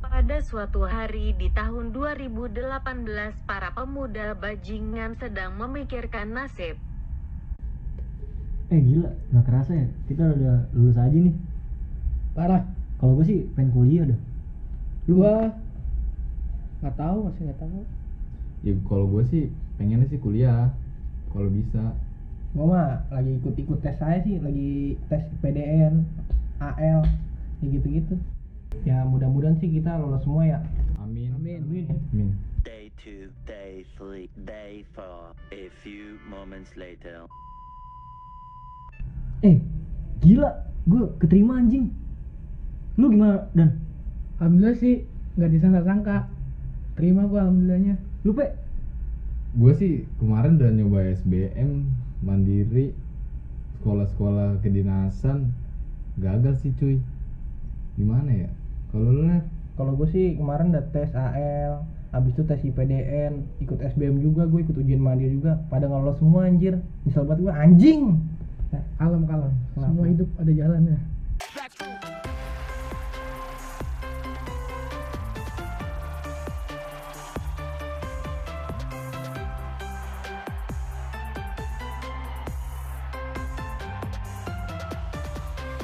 Pada suatu hari di tahun 2018, para pemuda bajingan sedang memikirkan nasib. Eh gila, nggak kerasa ya. Kita udah lulus aja nih. Parah. Kalau gue sih pengen kuliah dah. Lu gua nggak tahu masih nggak tahu. ya kalau gue sih pengennya sih kuliah kalau bisa Gua mah lagi ikut-ikut tes saya sih, lagi tes PDN, AL, ya gitu-gitu. Ya mudah-mudahan sih kita lolos semua ya. amin Amin. amin Day two, day three, day four. A few moments later. Eh, gila. Gue keterima anjing. Lu gimana, Dan? Alhamdulillah sih nggak disangka-sangka. Terima gua alhamdulillahnya. Lu, Pe? gue sih kemarin udah nyoba SBM mandiri sekolah-sekolah kedinasan gagal sih cuy gimana ya kalau lu Nat? Kalau gue sih kemarin udah tes AL, habis itu tes IPDN, ikut SBM juga, gue ikut ujian mandiri juga. Pada nggak lolos semua anjir. Nyesel banget gue anjing. Nah, Kalem kalem. Semua hidup ada jalannya.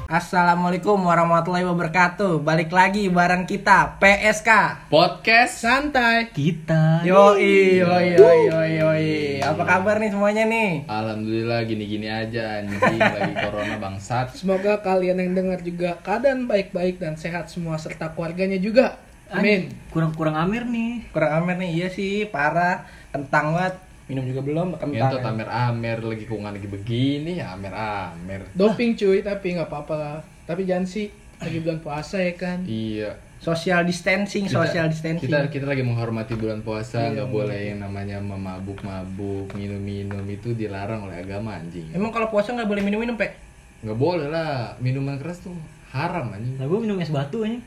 Assalamualaikum warahmatullahi wabarakatuh. Balik lagi bareng kita PSK. podcast Santai. Kita. Yoi, yoi, yoi, yoi, yoi. Apa kabar nih semuanya nih? alhamdulillah gini-gini aja anjing lagi corona bangsat Semoga kalian yang dengar juga keadaan baik-baik dan sehat semua serta keluarganya juga. Amin. Kurang-kurang Amir nih. Kurang amer nih, iya sih, parah, kentang banget. Minum juga belum, ya. ngentot kentang. amer-amer lagi kungan lagi begini ya amer-amer Doping cuy, tapi nggak apa-apa lah. Tapi jangan sih, lagi bulan puasa ya kan. iya Social distancing, Kita- social Kan distancing. kita kita lagi menghormati bulan puasa Iya, nggak boleh yang namanya memabuk-mabuk minum-minum itu dilarang oleh agama anjing Emang kalau puasa nggak boleh minum-minum, Pe? nggak boleh lah minuman keras tuh haram anjing Nah, gue minum es batu ini.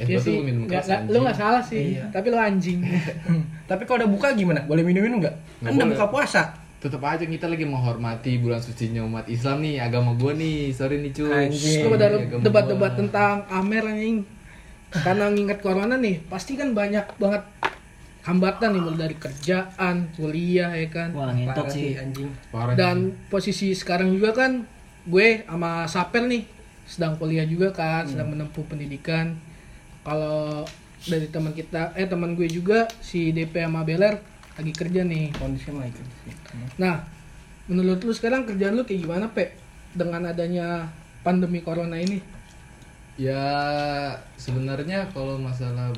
es Iya batu sih, Eh, minum nggak- keras nggak- anjing lu nggak salah sih, Iya. tapi lu anjing. Iya, Tapi kalau udah buka gimana? Boleh minum-minum nggak? Nggak Kan udah boleh. buka puasa. tetap aja kita lagi menghormati bulan sucinya umat Islam nih agama gua nih sorry nih cuy Anjing. Terus pada Agama debat-debat gua. tentang Amer anjing. Karena nginget corona nih, pasti kan banyak banget hambatan nih mulai dari kerjaan, kuliah ya kan. Wah, ngentot Parah sih. anjing. Parah dan posisi sekarang juga kan gue sama Saper nih sedang kuliah juga kan sedang menempuh pendidikan kalau dari teman kita eh teman gue juga si DP sama Beler lagi kerja nih Kondisinya lagi. nah menurut lu sekarang kerjaan lu kayak gimana pe dengan adanya pandemi corona ini Ya sebenarnya kalau masalah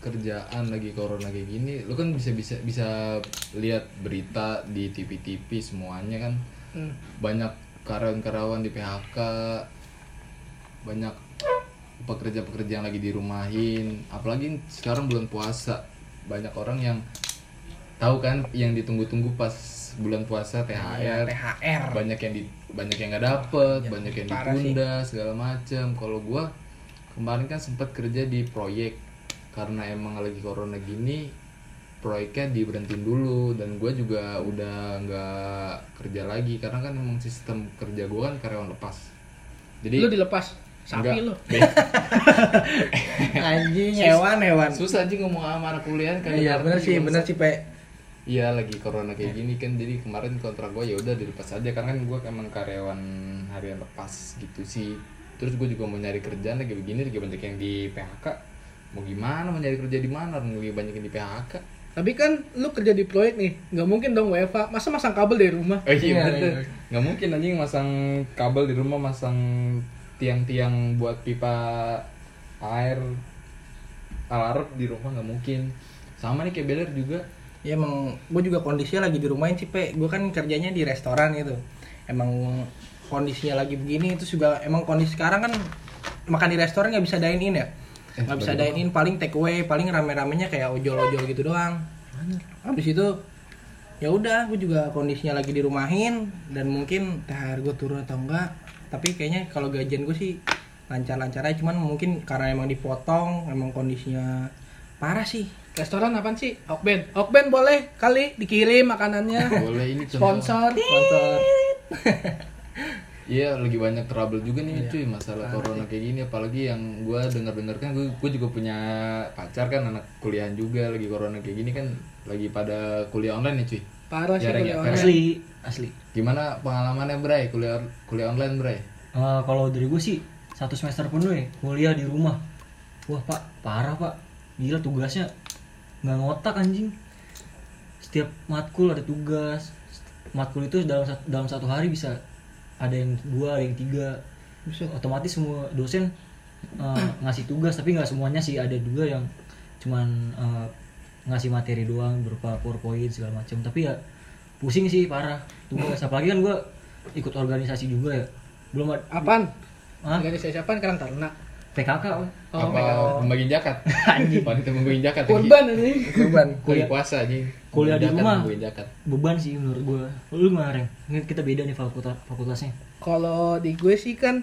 kerjaan lagi corona kayak gini, lu kan bisa bisa bisa lihat berita di TV-TV semuanya kan Hmm. banyak karyawan-karyawan di PHK, banyak pekerja-pekerja yang lagi dirumahin, apalagi sekarang bulan puasa banyak orang yang tahu kan yang ditunggu-tunggu pas bulan puasa Iya, THR THR. banyak yang di banyak yang nggak dapet banyak yang parah sih. ditunda segala macam kalau gua kemarin kan sempat kerja di proyek karena emang lagi corona gini proyeknya diberhentiin dulu dan gua juga udah nggak kerja lagi karena kan emang sistem kerja gua kan karyawan lepas jadi lu dilepas sapi Enggak. lu Anjing, hewan-hewan. susah aja ngomong sama anak kuliah kan Iya, bener sih, bener sih, Pe. Iya lagi corona kayak gini kan jadi kemarin kontrak gue ya udah dilepas aja karena kan gue emang karyawan harian lepas gitu sih. Terus gue juga mau nyari kerjaan lagi begini lagi banyak yang di PHK. Mau gimana mau nyari kerja di mana orang lagi banyak yang di PHK. tapi kan lu kerja di proyek nih nggak mungkin dong WFA masa masang kabel dari rumah Oh iya Iya, iya. bener. Nggak mungkin anjing masang kabel di rumah masang tiang-tiang buat pipa air alarm di rumah nggak mungkin. Sama nih kayak Beler juga Ya emang gue juga kondisinya lagi di rumahin sih pe Gue kan kerjanya di restoran gitu Emang kondisinya lagi begini Terus juga emang kondisi sekarang kan Makan di restoran nggak bisa dine in ya Eh, nggak bisa bagaimana? dine in paling take away Paling rame-ramenya kayak ojol-ojol gitu doang Habis itu ya udah gue juga kondisinya lagi di rumahin Dan mungkin THR gue turun atau enggak Tapi kayaknya kalau gajian gue sih lancar-lancar aja Cuman mungkin karena emang dipotong Emang kondisinya parah sih restoran apaan sih Okben Okben boleh kali dikirim makanannya boleh ini contoh. sponsor Sponsor Iya lagi banyak trouble juga nih cuy masalah Parah corona kayak gini apalagi yang gue dengar dengar kan gue juga punya pacar kan anak kuliahan juga lagi corona kayak gini kan lagi pada kuliah online nih cuy Parah sih Jarang ya, Fer? kuliah online. asli asli gimana pengalamannya Bray kuliah kuliah online Bray Eh, kalau dari gue sih satu semester penuh ya kuliah di rumah wah pak parah pak gila tugasnya nggak ngotak anjing setiap matkul ada tugas matkul itu dalam sat- dalam satu hari bisa ada yang dua ada yang tiga otomatis semua dosen eh, ngasih tugas tapi nggak semuanya sih ada juga yang cuman eh, ngasih materi doang berupa powerpoint segala macam tapi ya pusing sih parah tugas apalagi kan gue ikut organisasi juga ya belum ah, ada Apaan? Hah? Organisasi apaan? Karang Taruna. PKK Pak. Oh, apa membagiin jakat wanita membagiin jakat lagi. Urban ini. Kurban. kuliah puasa aja Kuliah di rumah. membagiin jakat beban sih menurut gue lu gimana Reng? Ini kita beda nih fakultas fakultasnya Kalau di gue sih kan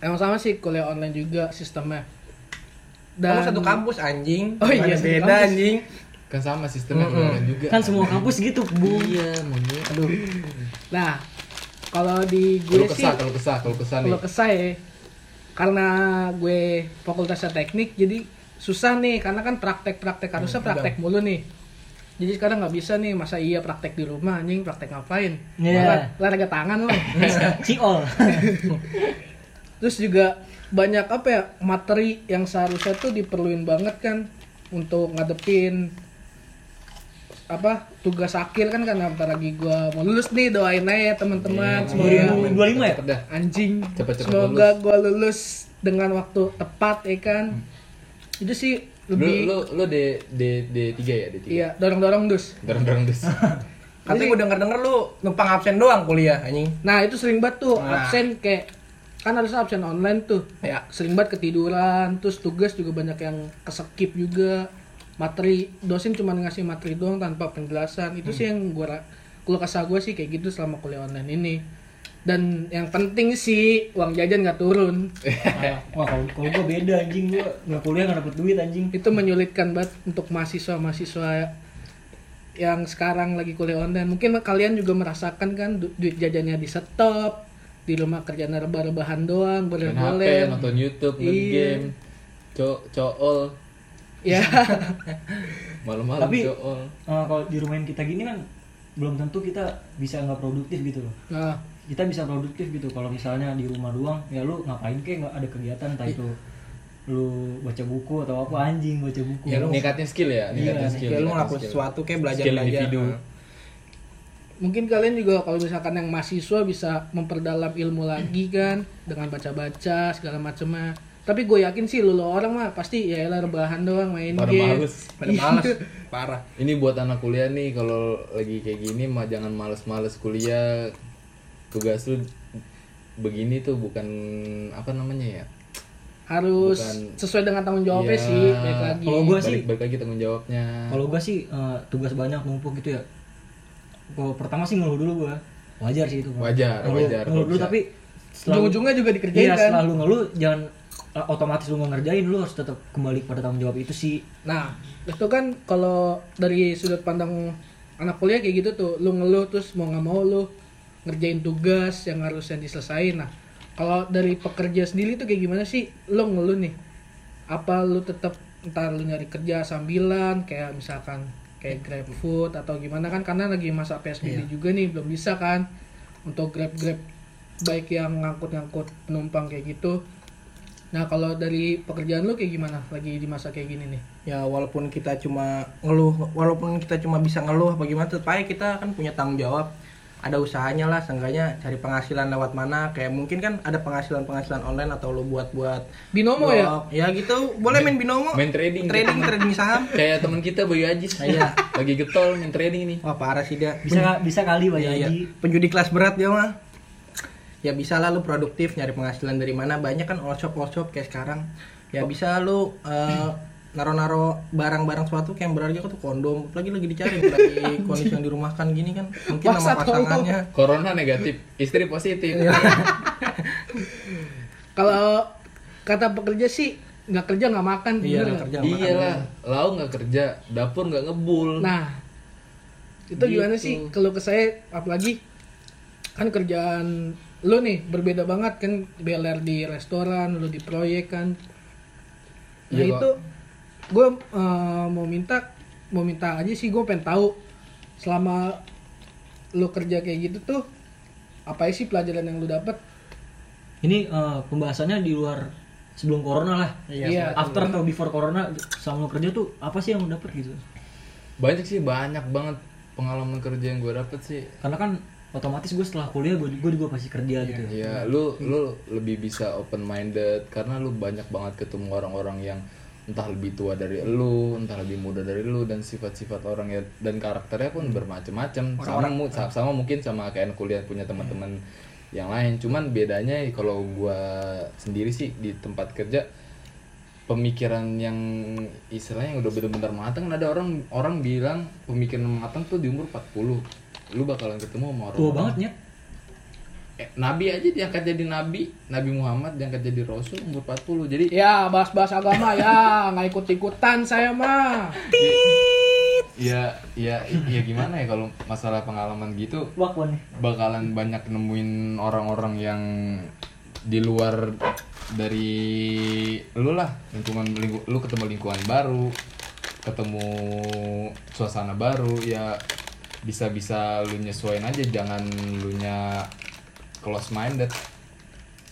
emang sama sih kuliah online juga sistemnya. Kamu satu kampus anjing. Oh iya, Ada satu beda kampus. anjing. kan sama sistemnya kuliah online juga kan semua kampus gitu bu iya makanya aduh Nah, kalau di gue kalau sih kesah kalau kesah kalau kesah nih kalau ke saya karena gue fakultasnya teknik jadi susah nih karena kan praktek-praktek harusnya praktek mulu nih jadi sekarang nggak bisa nih masa iya praktek di rumah anjing praktek ngapain Iya. Olah- olahraga tangan loh ciol terus juga banyak apa ya materi yang seharusnya tuh diperluin banget kan untuk ngadepin apa tugas akhir kan karena bentar lagi gue mau lulus nih doain aja Iya. teman-teman semoga 2025 ya Cepet dah anjing Cepet-cepet semoga gue lulus dengan waktu tepat ya kan itu sih Hmm. lu lebih lu lu D D D tiga ya D tiga iya dorong dorong dus dorong dorong dus Katanya gue denger denger lu numpang absen doang kuliah anjing. nah itu sering banget tuh Nah. absen kayak kan harus absen online tuh Ya. sering banget ketiduran terus tugas juga banyak yang kesekip juga materi dosen cuma ngasih materi doang tanpa penjelasan itu sih Hmm. yang gue keluh kesah gue sih kayak gitu selama kuliah online ini dan yang penting sih uang jajan nggak turun wah kalau kalau gue beda anjing gue nggak kuliah nggak dapet duit anjing Eh, itu menyulitkan banget untuk mahasiswa-mahasiswa yang sekarang lagi kuliah online. Mungkin kalian juga merasakan kan du- duit jajannya di stop, di rumah kerjaan rebah-rebahan main doang, HP boleh-boleh. nonton YouTube Iya. main game co cool Ya, malam-malam Tapi- Eh, cool kalau di rumahin kita gini kan belum tentu kita bisa nggak produktif gitu loh nah, kita bisa produktif gitu kalau misalnya di rumah doang ya lu ngapain kek nggak ada kegiatan entah itu lu baca buku atau apa anjing baca buku ya, ningkatin skill ya ningkatin Iya, Kayak skill lu ningkatin ngelakuin skill. sesuatu kayak belajar Skill belajar. individu. mungkin kalian juga kalau misalkan yang mahasiswa bisa memperdalam ilmu lagi kan dengan baca-baca segala macamnya. Tapi gue yakin sih lu lu orang mah pasti ya elah rebahan doang main Pada game. males. Pada males, parah. ini buat anak kuliah nih kalau lagi kayak gini mah jangan males-males kuliah tugas lu begini tuh bukan apa namanya ya Harus Bukan- sesuai dengan tanggung jawabnya Iya. sih baik lagi. Kalau gua balik, sih- balik lagi tanggung jawabnya Kalau gua sih eh, tugas banyak numpuk gitu ya. Kalau pertama sih ngeluh dulu gua. Wajar sih itu. Bang. Wajar, Ngeluh- wajar, Ngeluh dulu bisa. tapi Ujung-ujungnya juga dikerjain Iya, kan. selalu ngeluh jangan eh, otomatis lu nggak ngerjain lu harus tetap kembali pada tanggung jawab itu sih. Nah, itu kan kalau dari sudut pandang anak kuliah kayak gitu tuh, lu ngeluh terus mau nggak mau lu ngerjain tugas yang harusnya diselesain. Nah, kalau dari pekerja sendiri tuh kayak gimana sih? Lu ngeluh nih. Apa lu tetap ntar lu nyari kerja sambilan kayak misalkan kayak grab food atau gimana kan karena lagi masa PSBB juga nih belum bisa kan untuk grab grab baik yang ngangkut-ngangkut penumpang kayak gitu nah kalau dari pekerjaan lu kayak gimana lagi di masa kayak gini nih Ya walaupun kita cuma ngeluh, walaupun kita cuma bisa ngeluh apa gimana tetap aja kita kan punya tanggung jawab. Ada usahanya lah, seenggaknya cari penghasilan lewat mana. Kayak mungkin kan ada penghasilan-penghasilan online atau lu buat-buat Binomo ya? blog. Ya gitu, boleh main binomo. main trading gitu. trading, trading saham. kayak teman kita Bayu Ajis Iya. lagi getol main trading nih Wah parah sih dia. Bisa nggak- bisa kali Pak Iya, iya. Haji. Penjudi kelas berat dia mah. Ya bisa lah lu produktif nyari penghasilan dari mana banyak kan all shop all shop kayak sekarang. Ya Oh. bisa lu eh, naro-naro barang-barang suatu kayak yang berharga tuh kondom lagi lagi dicari lagi kondisi yang dirumahkan gini kan mungkin sama Paksa tolong. pasangannya corona negatif istri positif Kalau kata pekerja sih nggak kerja nggak makan, iya bener nggak? kerja nggak makan. iyalah lau nggak kerja dapur nggak ngebul Nah, itu gimana sih kalau ke saya apalagi kan kerjaan lu nih berbeda banget kan BLR di restoran, lu di proyek kan. Nah Iya, Kak. itu gue Eh, mau minta mau minta aja sih gue pengen tahu selama lu kerja kayak gitu tuh apa sih pelajaran yang lu dapet? Ini eh, pembahasannya di luar sebelum corona lah. Iya, After atau before corona sama lo kerja tuh apa sih yang lo dapet gitu? banyak sih banyak banget pengalaman kerja yang gue dapet sih Karena kan otomatis gue setelah kuliah gue gue juga pasti kerja gitu. ya lu lu lebih bisa open minded karena lu banyak banget ketemu orang-orang yang entah lebih tua dari lu entah lebih muda dari lu dan sifat-sifat orangnya dan karakternya pun bermacam-macam sama, mu- sa- sama mungkin sama kayak anak kuliah punya teman-teman yang lain cuman bedanya ya kalau gua sendiri sih di tempat kerja pemikiran yang istilahnya yang udah bener-bener matang ada orang orang bilang pemikiran matang tuh di umur 40 lu bakalan ketemu sama orang Tua banget nyet. Eh, nabi aja diangkat jadi nabi nabi Muhammad diangkat jadi rasul umur 40 jadi Ya bahas-bahas agama ya nggak ikut-ikutan saya mah. ya ya ya gimana ya kalau masalah pengalaman gitu Wakwan. bakalan banyak nemuin orang-orang yang di luar dari lu lah lingkungan lingku- lu ketemu lingkungan baru ketemu suasana baru ya bisa-bisa lu nyesuain aja jangan lu nya close minded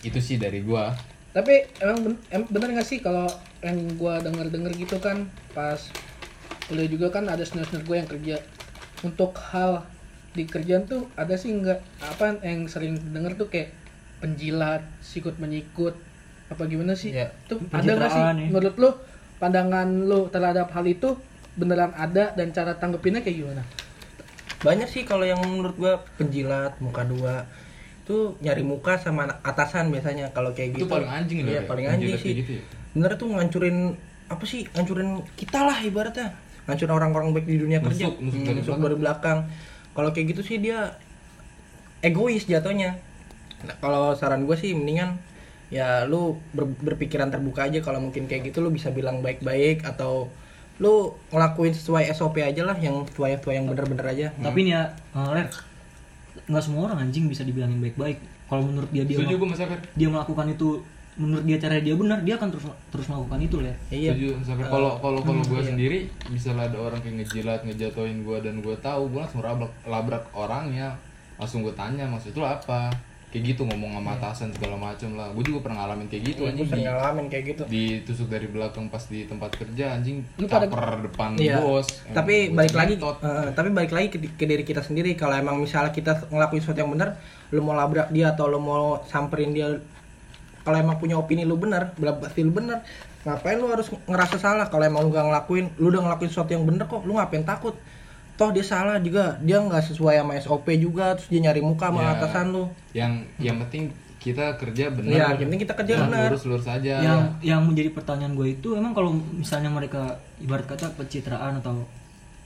itu sih dari gua Tapi emang ben- em- bener nggak sih kalau yang gua denger denger gitu kan pas kuliah juga kan ada senior-senior gue yang kerja untuk hal di kerjaan tuh ada sih nggak apa yang sering denger tuh kayak penjilat, sikut menyikut apa gimana sih? Ya, Itu ada nggak sih pencitraan ya. menurut lu pandangan lu terhadap hal itu beneran ada dan cara tanggepinnya kayak gimana? banyak sih kalau yang menurut gua penjilat muka dua itu nyari muka sama anak- atasan biasanya kalau kayak Itu gitu paling anjing loh, iya ya, paling penjilat anjing sih kayak gitu ya. bener tuh ngancurin apa sih ngancurin kita lah ibaratnya ngancurin orang-orang baik di dunia kerja Nusuk, nusuk dari Hmm, nusuk dari belakang kalau kayak gitu sih dia egois jatuhnya Nah, kalau saran gue sih mendingan ya lu ber- berpikiran terbuka aja kalau mungkin kayak gitu lu bisa bilang baik-baik atau lu ngelakuin sesuai SOP aja lah yang sesuai-sesuai yang bener-bener aja Tapi nih ya, eh, Ler, nggak semua orang anjing bisa dibilangin baik-baik. Kalau menurut dia dia setuju melaku- gua mas Safir dia melakukan itu menurut dia cara dia benar, dia akan terus terus melakukan itu, Ler. Iya. Setuju, sampai kalau kalau kalau gue sendiri misalnya ada orang kayak ngejilat ngejatuhin gue dan gue tahu gue langsung labrak, labrak orangnya langsung gue tanya maksud lu apa kayak gitu ngomong Iya. sama atasan segala macem lah gue juga pernah ngalamin kayak gitu Gue anjing sering di, Iya, ngalamin kayak gitu. ditusuk dari belakang pas di tempat kerja anjing Lu pada- caper depan Iya. bos Emang Tapi gua balik lagi jentot. eh, tapi balik lagi ke, ke diri kita sendiri kalau emang misalnya kita ngelakuin sesuatu yang benar, lu mau labrak dia atau lu mau samperin dia kalau emang punya opini lu benar, berarti lu benar. Ngapain lu harus ngerasa salah kalau emang lu gak ngelakuin, lu udah ngelakuin sesuatu yang benar kok, lu ngapain takut? Toh dia salah juga, dia nggak sesuai sama SOP juga, terus dia nyari muka sama Ya. atasan lu. yang yang penting kita kerja bener Iya, yang penting kita kerja Iya. Yang bener. lurus lurus aja yang yang menjadi pertanyaan gue itu emang kalau misalnya mereka ibarat kata pencitraan atau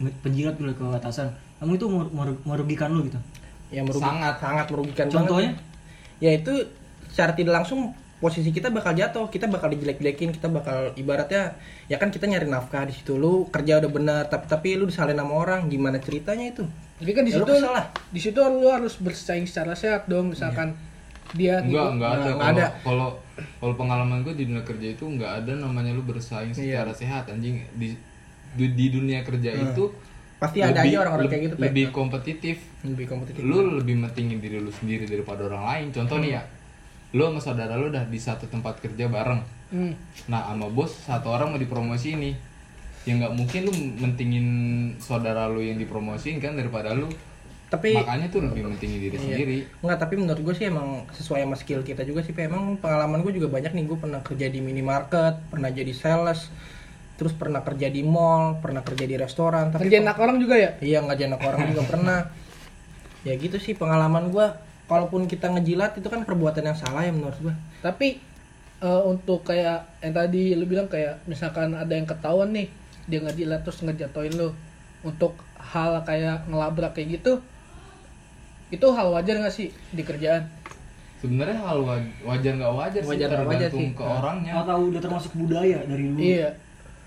nge- penjilat dulu ke atasan kamu itu mer- mer- merugikan lu gitu Ya merugi- Sangat. sangat merugikan banget. contohnya ya itu secara tidak langsung posisi kita bakal jatuh kita bakal dijelek-jelekin kita bakal ibaratnya ya kan kita nyari nafkah di situ lu kerja udah bener tapi tapi lu disalahin sama orang gimana ceritanya itu Jadi kan di Ya, lu situ kesel lah. di situ lu harus bersaing secara sehat dong misalkan Iya. dia Enggak, ngikut- enggak ada. gitu. Nah, Enggak Kalau- ada. Kalau kalau pengalaman gue di dunia kerja itu enggak ada namanya lu bersaing Iya. secara sehat anjing di di, di dunia kerja itu Nah. pasti ada aja orang-orang kayak gitu Pe. lebih kompetitif. lebih kompetitif Hmm. Lu lebih mentingin diri lu sendiri daripada orang lain. Contoh nih ya. Lu sama saudara lu udah di satu tempat kerja bareng. Hmm. Nah, sama bos satu orang mau dipromosi ini. Ya nggak mungkin lu mentingin saudara lu yang dipromosiin kan daripada lu. tapi Iya. Makanya tuh lebih mentingin diri sendiri. Enggak, tapi menurut gue sih emang sesuai sama skill kita juga sih. Pe. Emang pengalaman gue juga banyak nih. Gue pernah kerja di minimarket, pernah jadi sales, terus pernah kerja di mall, pernah kerja di restoran. Tapi Kerjain anak orang juga ya? Iya ngajain ke orang juga pernah. Ya gitu sih pengalaman gua. Kalaupun kita ngejilat itu kan perbuatan yang salah ya menurut gua. Tapi eh, untuk kayak yang tadi lu bilang kayak misalkan ada yang ketahuan nih dia nggak jilat terus ngejatoin lu untuk hal kayak ngelabrak kayak gitu itu hal wajar nggak sih di kerjaan? Sebenarnya hal wa- wajar nggak wajar, Wajar sih nggak wajar tergantung sih. ke orangnya. Hmm. atau udah termasuk budaya dari lu Iya.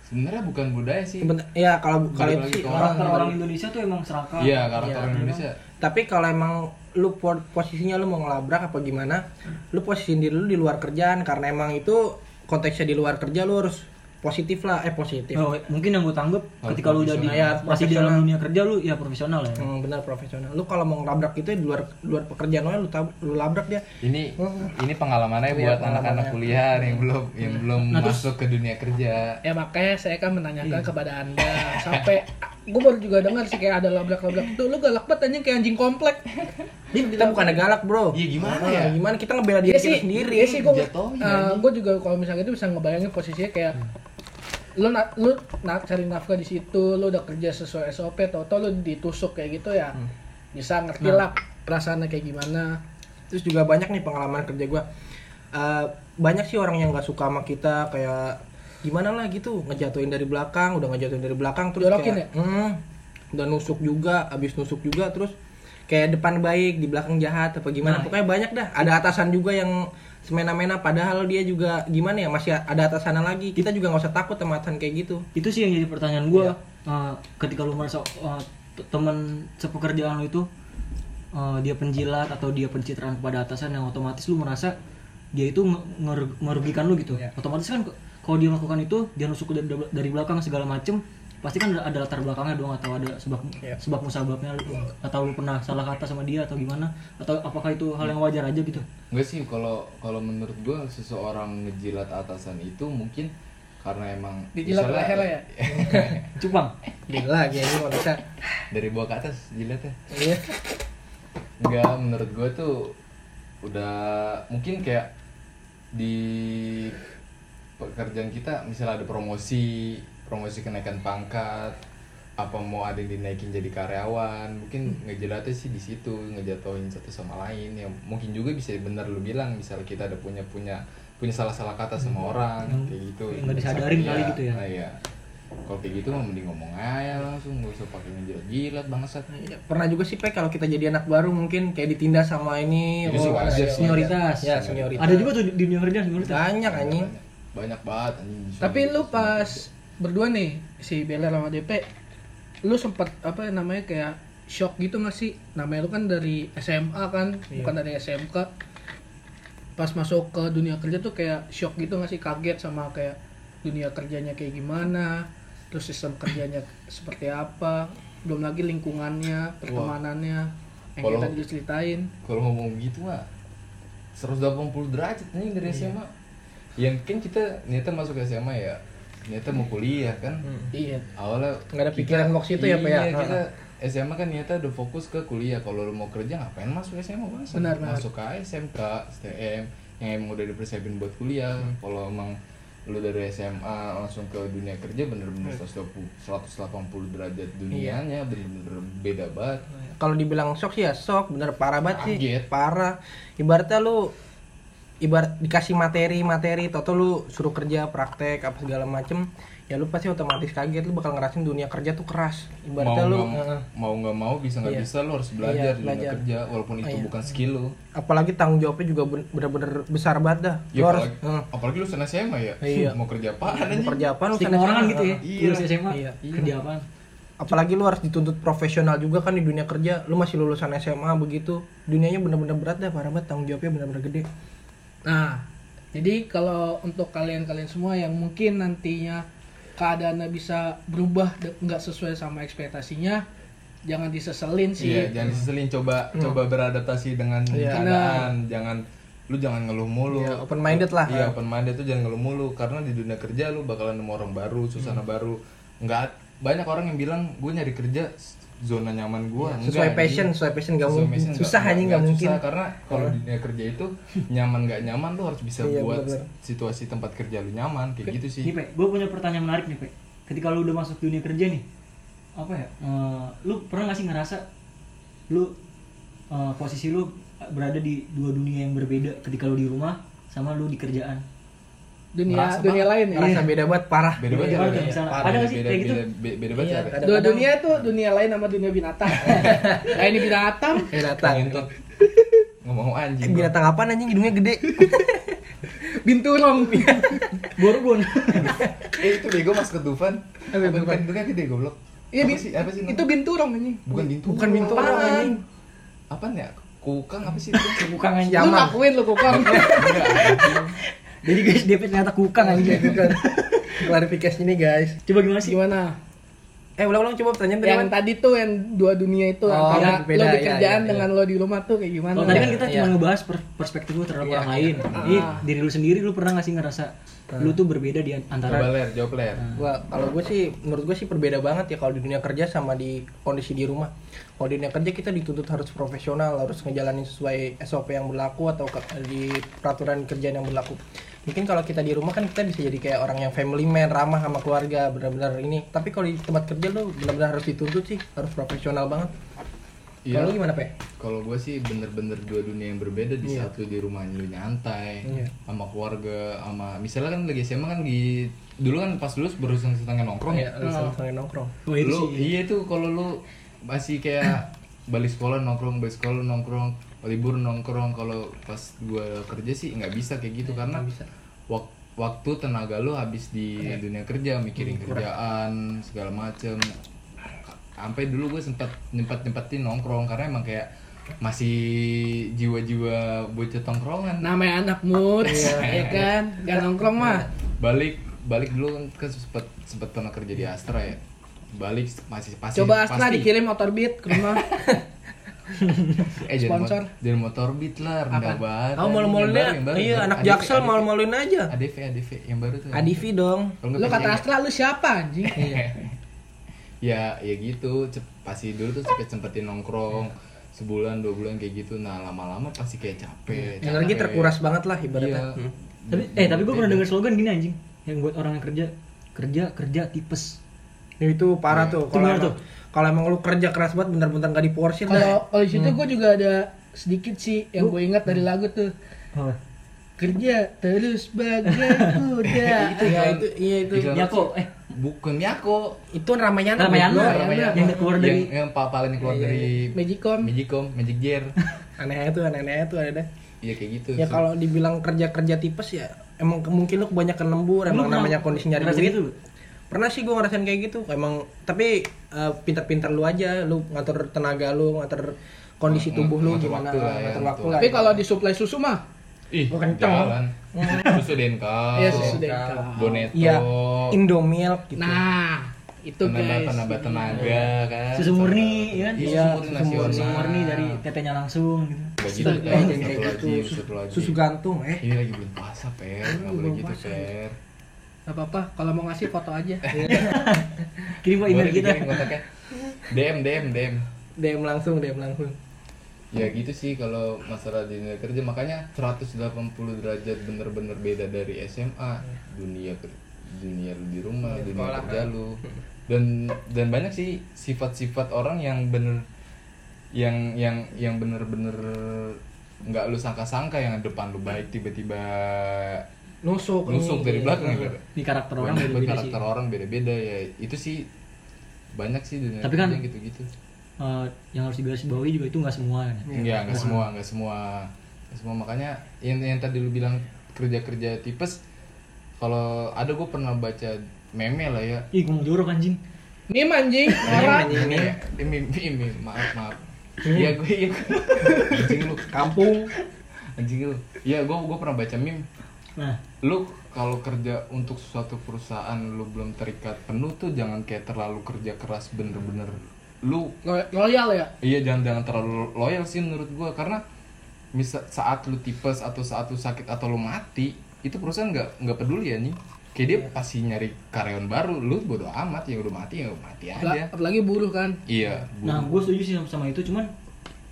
sebenarnya bukan budaya sih Seben- ya kalau kalau Balik itu sih lagi ke orang- karakter orang Indonesia tuh emang serakah iya karakter Iya. orang Indonesia tapi kalau emang lu po- posisinya lu mau ngelabrak apa gimana lu posisiin diri lu di luar kerjaan karena emang itu konteksnya di luar kerja lu harus positif lah eh positif Oh, mungkin yang gue tanggap Oh, ketika lu udah di, profesional. Ya, masih di dalam dunia kerja lu ya profesional ya. Hmm, benar profesional lu kalau mau ngelabrak itu ya di luar luar pekerjaan lu lu, tab- lu labrak dia ini ini pengalamannya buat anak-anak kuliah yang belum yang belum masuk ke dunia kerja Ya makanya saya kan menanyakan kepada anda sampai gue baru juga dengar sih kayak ada labrak-labrak itu lu galak banget anjing kayak anjing komplek. Dia kita bukan ada galak bro Iya, Ah, gimana ya? gimana kita ngebela diri Iya kita sih, sendiri iya sih gue Jatuhin, anjing. gue juga kalau misalnya itu bisa ngebayangin posisinya kayak lu na lu na cari nafkah di situ, lu udah kerja sesuai SOP, tau-tau lu ditusuk kayak gitu ya Hmm. bisa ngerti lah Nah. perasaannya kayak gimana. terus juga banyak nih pengalaman kerja gua Eh, banyak sih orang yang nggak suka sama kita kayak gimana lah gitu ngejatuhin dari belakang udah ngejatuhin dari belakang terus Jorokin ya? kayak "Hmm," udah nusuk juga abis nusuk juga terus kayak depan baik di belakang jahat apa Nah, gimana iya. pokoknya banyak dah ada atasan juga yang semena-mena padahal dia juga gimana ya masih ada atasan lagi kita juga nggak usah takut sama atasan kayak gitu Itu sih yang jadi pertanyaan gue ketika lu merasa uh, t- teman sepekerjaan lu itu uh, dia penjilat atau dia pencitraan kepada atasan yang otomatis lu merasa dia itu nge- ngeru- merugikan lu gitu. Otomatis kan k- kalau dia melakukan itu dia nusuk dari, dari belakang segala macem pasti kan ada, ada latar belakangnya dong atau ada sebab sebab musababnya lu- atau lu pernah salah kata sama dia atau gimana atau apakah itu hal yang wajar aja gitu? Gue sih kalau kalau menurut gue seseorang ngejilat atasan itu mungkin karena emang Dijilat misalnya- leher lah ya? Cupang. dia lagi ini nggak bisa dari bawah ke atas jilatnya. Iya. Enggak menurut gue tuh udah mungkin kayak di pekerjaan kita misalnya ada promosi promosi kenaikan pangkat apa mau ada yang dinaikin jadi karyawan mungkin Hmm. ngejelatnya sih di situ ngejatuhin satu sama lain ya mungkin juga bisa benar lu bilang misalnya kita ada punya punya punya salah salah kata sama orang Yang kayak gitu Hmm. yang nggak disadarin Iya, kali gitu ya. ah, iya kalau kayak gitu mah mending ngomong aja langsung gak usah pakai ngejilat-jilat bangsat Ya, pernah juga sih Pak kalau kita jadi anak baru mungkin kayak ditindas sama ini Itu Iya sih oh, wajar. Senioritas. ya senioritas Ada juga tuh di di dunia kerja senioritas. banyak anjing banyak banget anjing Tapi lu pas berdua nih si Bella sama DP, lu sempat apa namanya kayak shock gitu gak sih? Namanya lu kan dari SMA kan, bukan dari SMK. Pas masuk ke dunia kerja tuh kayak shock gitu gak sih? Kaget sama kayak dunia kerjanya kayak gimana, terus sistem kerjanya seperti apa, belum lagi lingkungannya, pertemanannya yang Kalau- kita dulu ceritain. kalau ngomong gitu mah 180 derajat anjing Iya. dari SMA yang kan kita niatnya masuk SMA ya niatnya mau kuliah kan Iya. awalnya nggak ada pikiran mau ke situ ya Pak ya iya, kita SMA kan niatnya udah fokus ke kuliah kalau lu mau kerja ngapain masuk SMA bang Benar, benar. masuk ke SMK STM yang emang udah dipersiapin buat kuliah Hmm. kalau emang lu dari SMA langsung ke dunia kerja Hmm. bener-bener 120 180 derajat Iya. dunianya bener-bener beda banget kalau dibilang shock sih ya shock bener parah banget Kaget. sih parah ibaratnya lu ibarat dikasih materi-materi toto lu suruh kerja praktek apa segala macem ya lu pasti otomatis kaget lu bakal ngerasin dunia kerja tuh keras mau ibaratnya nggak lu mau, eh, mau nggak mau bisa nggak Iya. bisa lo harus belajar Iya, di dunia belajar. Iya. kerja walaupun itu bukan skill lo apalagi tanggung jawabnya juga ben- bener-bener besar banget dah ya lu harus apalagi, eh, apalagi lo sana SMA ya Iya. mau kerja apaan mau anjing kerja apa lu Stigma sana- orang kan gitu ya. Iya. Lulus SMA Iya. kerja apaan? apalagi lu harus dituntut profesional juga kan di dunia kerja lu masih lulusan SMA begitu dunianya bener-bener berat dah parah banget tanggung jawabnya bener-bener gede Nah, jadi kalau untuk kalian-kalian semua yang mungkin nantinya keadaannya bisa berubah de- nggak sesuai sama ekspektasinya, jangan diseselin iya sih. jangan diseselin coba coba Hmm. beradaptasi dengan Iya. keadaan jangan lu jangan ngeluh mulu Ya, open minded lah iya open minded tuh jangan ngeluh mulu karena di dunia kerja lu bakalan nemu orang baru suasana Hmm. baru nggak banyak orang yang bilang gue nyari kerja s- zona nyaman gue Iya, sesuai passion sesuai passion gak Sesuai mungkin passion susah hanya nggak mungkin susah, karena kalau di dunia kerja itu nyaman nggak nyaman lu harus bisa Iya, buat bener-bener. situasi tempat kerja lu nyaman kayak gitu sih Nih, Pe, gue punya pertanyaan menarik nih, Pe. Ketika lu udah masuk dunia kerja nih, apa ya? eh, lu pernah gak sih ngerasa lu eh, posisi lu berada di dua dunia yang berbeda ketika lu di rumah sama lu di kerjaan? Dunia Merasa dunia lain ya. merasa beda banget parah beda banget Iya, cara iya, ya. misalnya. Ada Parah, beda- nggak sih beda kayak gitu? beda beda banget cara Dua dunia tuh dunia lain sama dunia binatang. nah ini binatang. binatang Eh, nggak mau anjing Kan binatang apa anjing hidungnya gede binturong Borgon. eh itu bego mas ketufan Apa, apa bukan. bukan bentuknya gede goblok Iya, apa bin- sih apa sih itu binturong anjing bukan bintu Bukan bintu Apaan? orang, anjing. apaan ya kukang apa sih itu? bukan lu ngakuin lu kokong Enggak, anjing. Jadi guys, dia ternyata kukang anjing. klarifikasi Iya, nih guys Coba gimana sih? gimana eh ulang-ulang coba pertanyaan yang tadi tuh yang dua dunia itu Oh, yang antara beda, lo di iya, kerjaan iya, dengan lo di rumah tuh kayak gimana Kalau tadi kan Iya, kita iya. cuma ngebahas per- perspektif lu terhadap Iya, orang iya. lain. Jadi diri lu sendiri lu pernah nggak sih ngerasa lu tuh berbeda di an- coba antara ler jawab ler gua kalau gue sih menurut gue sih berbeda banget ya kalau di dunia kerja sama di kondisi di rumah kalau di dunia kerja kita dituntut harus profesional harus ngejalanin sesuai SOP yang berlaku atau ke- di peraturan kerjaan yang berlaku mungkin kalau kita di rumah kan kita bisa jadi kayak orang yang family man ramah sama keluarga benar-benar ini tapi kalau di tempat kerja lu benar-benar harus dituntut sih harus profesional banget Iya. kalau lu gimana pe Kalau gue sih bener-bener dua dunia yang berbeda di saat lu di rumah lu nyantai Iya. sama keluarga sama misalnya kan lagi SMA kan di dulu kan pas lulus berusaha setengah nongkrong ya. lu sama nongkrong Oh, itu Lu sih. iya tuh kalau lu masih kayak balik sekolah nongkrong, balik sekolah nongkrong, libur nongkrong kalau pas gua kerja sih nggak bisa kayak gitu karena nggak bisa. wak- waktu tenaga lu habis di dunia kerja mikirin kerjaan segala macem sampai dulu gue sempat nyempat nyempatin nongkrong karena emang kayak masih jiwa-jiwa bocah tongkrongan namanya anak mood Iya, ya kan gak nongkrong mah balik balik dulu kan- kan sempet sempet pernah kerja di Astra ya balik masih pasti coba Astra pasti. dikirim motor beat ke rumah eh, jangan Sponsor. mot- jangan motor beat lah rendah banget kamu malu-maluin iya anak jaksel malu-maluin aja ADV ADV yang baru tuh Adivi dong Kalau nggak lo kata PJM. Astra lu siapa anjing Iya. ya ya gitu Cep- pasti dulu tuh sempet sempetin nongkrong sebulan dua bulan kayak gitu nah lama-lama pasti kayak capek energi capek. terkuras banget lah iya ibaratnya Hmm. Tapi eh tapi gua pernah Iya. dengar slogan gini anjing yang buat orang yang kerja kerja kerja tipes. Ya, itu parah tuh kalau gimana emang, tuh? kalau emang lu kerja keras banget bener-bener gak diporsir kalau dah. kalau di situ gue juga ada sedikit sih yang gue ingat Hmm. dari lagu tuh Oh. kerja terus bagai kuda gitu iya itu iya itu Iklan- Nyako eh kan. bukan Miyako ya? itu Ramayana Ramayana, bego. Ramayana. yang keluar dari- yang, yang paling Iya, keluar dari Magicom Magicom, Magic Gear. anehnya tuh anehnya tuh ada dah. Iya kayak gitu. ya kalau dibilang kerja kerja tipes ya emang ke- mungkin lu kebanyakan lembur Lu emang pernah namanya kondisi nyari ngerasa duit gitu? pernah sih gue ngerasain kayak gitu emang tapi eh, pintar-pintar lu aja lu ngatur tenaga lu ngatur kondisi tubuh lu ngatur gimana waktu lah ya, ngatur ngatur waktu lah tapi kalau di supply susu mah Ih, Bukan jalan. Susu Denka. ya susu deka Boneto. iya Oh. indomilk gitu nah itu penambah guys Iya. penambah tenaga kan. Susu murni, ya kan? Iya, susu murni Susu nasional. murni, murni dari tetenya langsung gitu. Begitu, Astaga, eh, kayak satu gitu. lagi, satu lagi. susu gantung eh Ini lagi bulan puasa, Per. Enggak boleh gitu, Per. Gak apa-apa, kalau mau ngasih foto aja. Eh, Iya. Kirim ke email Boleh kita. dikirim kontaknya. DM, DM, DM. DM langsung DM langsung Ya gitu sih kalau masalah di dunia kerja makanya 180 derajat bener-bener beda dari SMA Iya. dunia ker- dunia lu di rumah dunia kerja kan. lu dan dan banyak sih sifat-sifat orang yang bener yang yang yang bener-bener nggak lu sangka-sangka yang depan lu baik tiba-tiba nusuk nusuk Iya. dari belakang gitu. Di karakter orang Banyak beda-beda sih. karakter orang beda-beda ya itu sih banyak sih dunia Tapi kan- kerja gitu-gitu. Eh, yang harus digarisbawahi juga itu nggak semua kan. Enggak, enggak Iya, semua, enggak semua. Nggak semua makanya yang yang tadi lu bilang kerja-kerja tipes kalau ada gue pernah baca meme lah ya. Ih, ngomong jorok anjing. Mie anjing, orang. Meme, ya? Eh, meme, meme, maaf, maaf. Iya, gue iya. gua- Anjing lu, kampung anjing lu. Iya, gue gue pernah baca meme. Nah, Lu kalau kerja untuk suatu perusahaan lu belum terikat penuh tuh jangan kayak terlalu kerja keras bener-bener. Lu Lo- Loyal ya? Iya jangan jangan terlalu loyal sih menurut gua karena misal saat lu tipes atau saat lu sakit atau lu mati itu perusahaan nggak nggak peduli ya nih kayak dia pasti nyari karyawan baru lu bodo amat yang udah mati ya udah mati aja Apla- Apalagi buruh kan. iya bu- nah gue setuju sih sama- sama itu cuman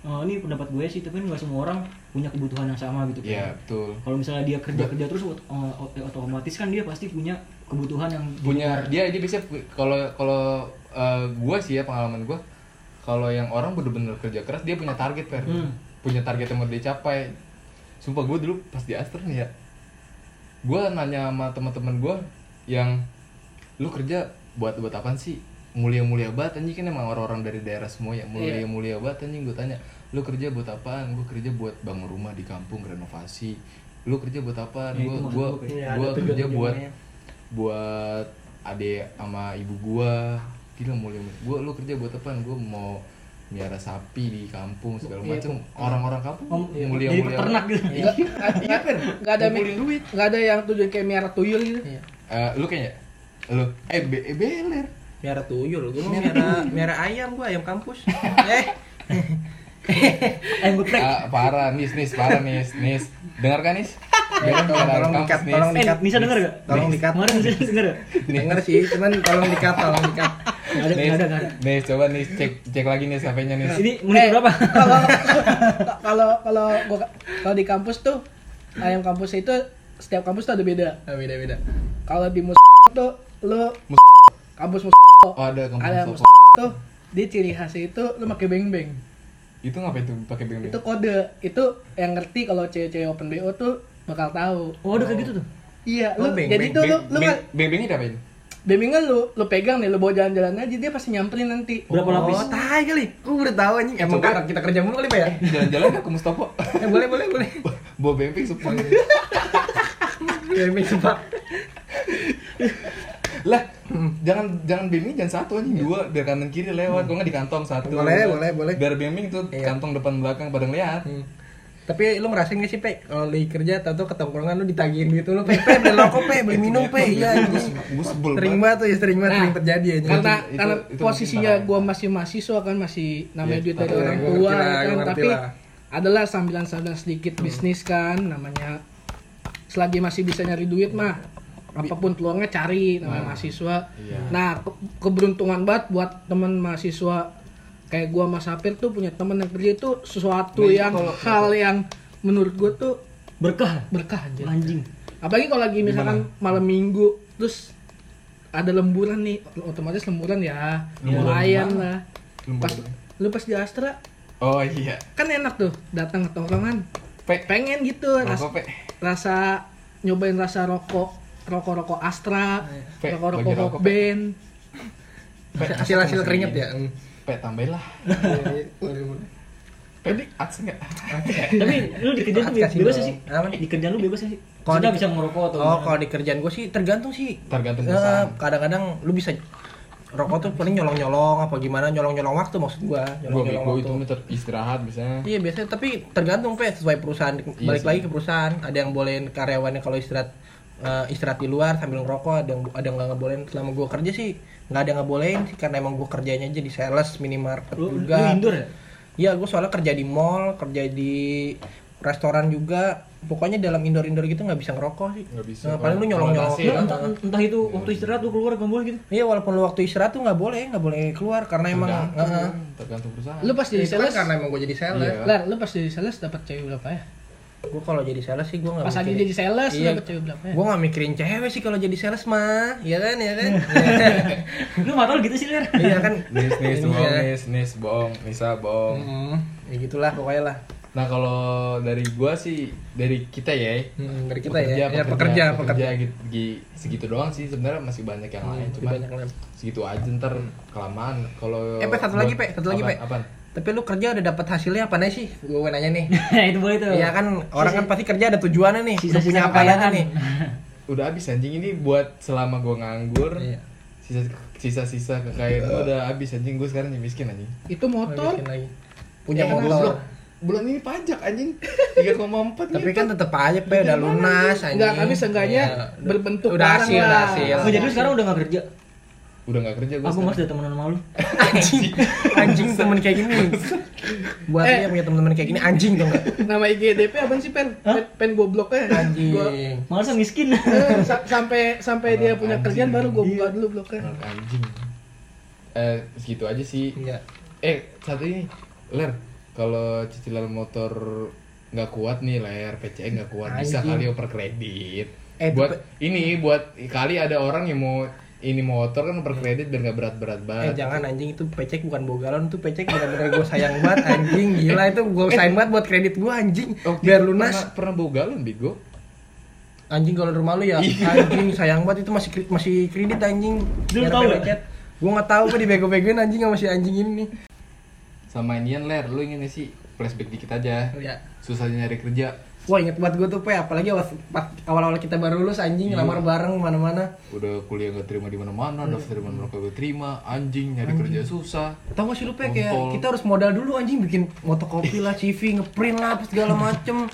eh, ini pendapat gue sih tapi kan nggak semua orang punya kebutuhan yang sama gitu kan. iya betul Kalau misalnya dia kerja kerja terus ot- eh, ot- otomatis kan dia pasti punya kebutuhan yang punya dia dia bisa kalau kalau eh, gua sih ya pengalaman gua kalau yang orang bener-bener kerja keras dia punya target per Hmm. punya target yang mau dicapai sumpah gua dulu pas di Astra nih ya gua nanya sama teman-teman gua yang lu kerja buat buat apaan sih mulia-mulia banget anjing kan emang orang-orang dari daerah semua Iya. ya mulia-mulia banget anjing gue tanya lu kerja buat apaan gue kerja buat bangun rumah di kampung renovasi lu kerja buat apa Ya, itu gua maksud gua gua kayak- Iya, gua ada kerja buat tujuan-tujuannya. buat adik sama ibu gua gila mulia banget. gua lu kerja buat apaan gua mau miara sapi di kampung segala Iya, macam orang-orang kampung Iya. mulia Jadi mulia peternak gitu. Nggak- nggak nggak ada Iya, Ngumpulin duit. nggak ada yang tujuan kayak miara tuyul gitu Iya. Eh, lu kayaknya lu eh, be- eh, beler Miara tuyul, gue mau miara miara ayam gue ayam kampus. eh, Ayam geprek. Ah, parah nis nis parah nis nis dengarkan nis Dengar tolong- miara tolong kampus, dikat, Nis. tolong Eh, bisa denger gak? Tolong dikat. Kemarin bisa denger gak? denger sih, cuman tolong dikat, tolong dikat. Gak ada, Nis, gak ada, gak ada. Nis, coba nis cek cek lagi nis HP-nya nis. Ini menit Eh, berapa? kalau kalau kalau gua kalau di kampus tuh ayam kampus itu setiap kampus tuh ada beda Ah, beda beda. kalau di mus tuh lu Mus- kampus mus Oh ada kampung ada Sopo. mus tuh di ciri khasnya itu lu pakai beng beng Itu ngapain tuh pakai beng itu kode itu yang ngerti kalau cewek-cewek open bo tuh bakal tahu Oh, ada kayak gitu tuh. iya Oh, lu beng-beng. jadi tuh lu lu kan beng beng itu apain? bemingnya lu lu pegang nih lu bawa jalan-jalan aja dia pasti nyamperin nanti Berapa lapis? Oh, tai kali. Gue udah tahu anjing. Emang Coba. Eh, kita, kita kerja mulu kali, Pak ya? Jalan-jalan gak ke Mustopo? Eh, boleh, boleh, boleh. Bawa beng beng supang. Iya. Gaming sumpah. lah, jangan jangan beng beng jangan satu anjing dua biar kanan kiri lewat. Kalau nggak di kantong satu. Hmm. Boleh, boleh, boleh. Biar beng beng tuh Iya. kantong depan belakang pada ngeliat. Hmm. Tapi lu ngerasain gak sih, Pe? Kalau lagi kerja atau ketongkrongan lu ditagihin gitu lu, Pe, Pe, beli rokok, Pe, beli minum, Pe. Iya, gue anjing. gue sebel Sering banget. banget tuh, ya, sering banget sering terjadi aja. karena itu- karena itu mungkin posisinya parah. gua masih mahasiswa kan masih namanya Iya, duit dari iya, orang gua tua ngerti lah, kan gua ngerti tapi lah. adalah sambilan-sambilan sedikit Hmm. bisnis kan namanya selagi masih bisa nyari duit mah apapun peluangnya cari namanya mahasiswa Iya. nah ke- keberuntungan banget buat teman mahasiswa kayak gua mas Sapir tuh punya teman yang kerja itu sesuatu Nah, itu yang kalau- hal yang menurut gua tuh Berkah. berkah anjir Anjing. apalagi kalau lagi misalkan malam minggu terus ada lemburan nih otomatis lemburan ya Iya, Lemburan lumayan di mana? lah Lu pas boleh. lu pas di Astra Oh iya. kan enak tuh datang ke tongkrongan Pe, pengen gitu ras- rokok, Pe. rasa nyobain rasa rokok rokok rokok Astra Pe, bagi rokok rokok rokok, rock band Pe, Hasil hasil keringet ya. Pe, tambahin lah. Pe, di ads nggak? Tapi lu di kerjaan tuh Kasih bebas dong. sih? Apa? Di kerjaan lu bebas sih? Kalau Kita di- bisa ngerokok atau Oh, gimana? kalau di kerjaan gue sih tergantung sih. Tergantung Eh, perusahaan. Kadang-kadang lu bisa rokok tuh paling nyolong-nyolong apa gimana nyolong-nyolong waktu maksud gua. Gue Nyolong-nyolong bego itu waktu. meter istirahat biasanya. Iya biasanya tapi tergantung pe sesuai perusahaan balik Iya sih. lagi ke perusahaan ada yang bolehin karyawannya kalau istirahat eh, istirahat di luar sambil ngerokok ada yang ada yang nggak ngebolehin selama gua kerja sih nggak ada yang ngebolehin sih karena emang gua kerjanya jadi sales minimarket Lu, lu juga. indoor ya? Iya, gue soalnya kerja di mall, kerja di restoran juga. Pokoknya dalam indoor-indoor gitu nggak bisa ngerokok sih. Nggak bisa. Nah, paling lu nyolong-nyolong. Konotasi Lu Iya. entah, entah itu waktu istirahat lu keluar gombolan gitu. Iya, walaupun lu waktu istirahat tuh nggak boleh, nggak boleh keluar karena emang eh, Tergantung, Heeh. tergantung perusahaan. lu pas jadi Itu kan sales karena emang gue jadi sales. Iya. Lar, lu pas jadi sales dapat cewek berapa ya Gue kalau jadi sales sih gue nggak. pas lagi mikirin- jadi Oh, sales lu Iya. dapat cewek berapa ya Gue nggak mikirin cewek sih kalau jadi sales mah, Iya kan, ya kan. Lu mata lu gitu sih, Ler. Iya kan. Nis, nis, Ini bohong, ya. nis, nis, bohong, Nisa, bohong. Mm, Ya gitulah pokoknya lah. Nah kalau dari gua sih dari kita ya, Mm, dari kita ya. Ya, pekerja, pekerja. gitu, gi- segitu doang sih sebenarnya masih banyak yang Lebih lain. Cuman banyak yang lain. segitu aja ntar kelamaan. Kalau Eh, Pe, satu lagi, Pe, satu lagi, Apaan, Pe. apaan? Tapi lu kerja udah dapat hasilnya apa nih sih? Gue nanya nih. Nah, itu boleh tuh. Iya kan orang kan pasti kerja ada tujuannya nih. Udah Sisa-sisa punya apa aja kekayaan. kan? nih? Udah habis anjing ini buat selama gua nganggur. Iya. Sisa sisa sisa kekayaan gua udah habis anjing gua sekarang jadi miskin anjing. itu Oh, motor Bikin lagi. Iya, Punya Eh, motor. goblok. Bulan ini pajak anjing 3,4 Tapi gitu. kan tetep aja pe udah lunas anjing. Enggak, Iya, tapi seenggaknya Iya. berbentuk udah barang hasil, lah. udah hasil. Oh, jadi lu sekarang udah gak kerja? udah nggak kerja gua Aku sekarang. mas udah temenan sama lu. anjing. Anjing temen kayak gini. Buat Eh. dia punya temen-temen kayak gini anjing dong. Nama IGDP apa sih pen? Pen, pen gobloknya. Anjing. Gua- Malah miskin. Eh, sa- sampai sampai dia punya Anjing. kerjaan baru gue buka dulu ya. bloknya. Anak anjing eh segitu aja sih Iya. eh satu ini ler kalau cicilan motor nggak kuat nih ler PCE nggak kuat bisa kali oper kredit Eh, buat ini buat kali ada orang yang mau ini motor kan oper kredit biar nggak berat-berat Eh banget jangan anjing itu pecek bukan bogalon itu pecek bener-bener gue sayang banget anjing gila itu gue Eh. sayang banget buat kredit gue anjing Waktu biar itu lunas Oh, pernah, pernah bawa galon bigo anjing kalau di rumah lu ya Iya. anjing sayang banget itu masih kri- masih kredit anjing Lu tahu nggak? gue nggak tahu gue dibego-begoin anjing sama si anjing ini nih sama inian ler lu ingin nggak sih flashback dikit aja Iya. Ya. susahnya nyari kerja Wah inget buat gue tuh Pe, apalagi awas- pas- awal-awal kita baru lulus anjing ngelamar bareng mana-mana udah kuliah nggak terima di mana-mana Iya. daftar di mana kagak terima anjing nyari kerja susah Tau gak sih lu Pe, kayak Kontol. kita harus modal dulu anjing bikin motokopi lah, CV, ngeprint lah, apa segala macem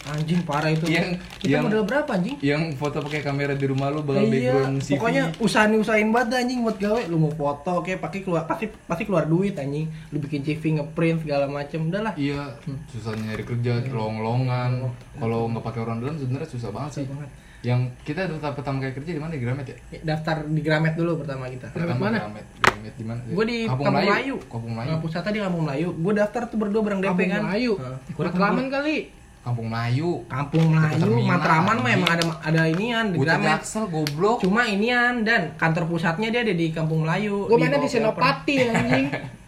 Anjing parah itu Yang- Kita yang- modal berapa anjing? yang foto pakai kamera di rumah lu Iya, bakal background CV pokoknya usahain usahain banget dah, anjing buat gawe lu mau foto oke pakai keluar pasti pasti keluar duit anjing lu bikin CV ngeprint segala macem udahlah iya susah Iya. nyari kerja lolongan kalau nggak pakai orang dalam sebenarnya susah banget sih banget. yang kita tetap pertama kali kerja di mana di Gramet ya Ya, daftar di Gramet dulu pertama kita Pertama mana? Gramet Gramet di mana Gua di Kampung Melayu. Kampung Melayu Kampung Pusata di Kampung Melayu gue daftar tuh berdua bareng DP Kampung kan Melayu. Hah. Kurang kelaman kali. Kampung Melayu Kampung Melayu Dekat terminal, Matraman mah anjing. emang ada ada inian di Bocah Gramet Jaksel goblok cuma inian dan kantor pusatnya dia ada di Kampung Melayu Gue mainnya Bawah di Pelper. Senopati anjing.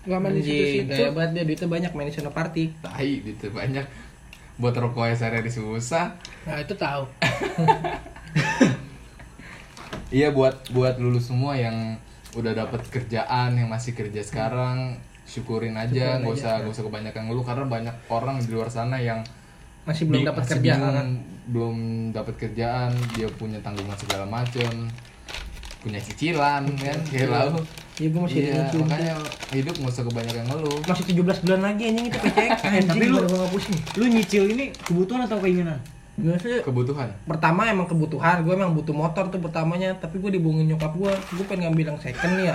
Gua main di Anjing, situ-situ. gaya banget dia duitnya banyak main di Senopati tai gitu banyak buat rokoknya sehari susah Nah, itu tahu. Iya buat buat lulus semua yang udah dapat kerjaan yang masih kerja sekarang syukurin aja Syukurin nggak aja. usah nggak usah kebanyakan ngeluh karena banyak orang di luar sana yang masih belum bi- dapat masih kerjaan bingung, belum dapat kerjaan dia punya tanggungan segala macem punya cicilan kan kayak lalu ya gue masih iya ada nyicil. makanya hidup nggak usah kebanyakan ngeluh masih 17 bulan lagi anjing itu PCK anjing Tapi lu- baru gua ngapusin Lu nyicil ini kebutuhan atau keinginan? Gua sih, kebutuhan pertama emang kebutuhan gue emang butuh motor tuh pertamanya tapi gue dibohongin nyokap gue gue pengen ngambil yang second nih ya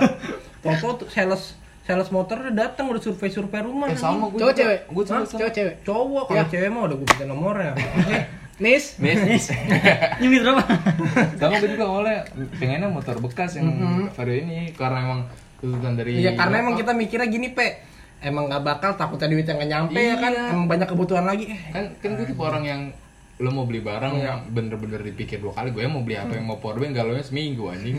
Toto tuh sales sales motor udah datang udah survei survei rumah eh anjing. sama gue Cowok cewek. gue juga Hah? sama. Cowok cewek. cowok kalau Ya. cewek mah udah gue bisa nomornya Eh, Nis, Nis. Nyimit berapa? sama gue juga awalnya pengennya motor bekas yang Vario ini karena emang tuntutan dari iya karena emang kita nyokap. mikirnya gini pe emang nggak bakal takutnya duitnya nggak nyampe ya kan emang banyak kebutuhan lagi eh, kan kan gue tipe orang yang lo mau beli barang yang bener-bener dipikir dua kali gue mau beli apa yang mau powerbank galaunya seminggu anjing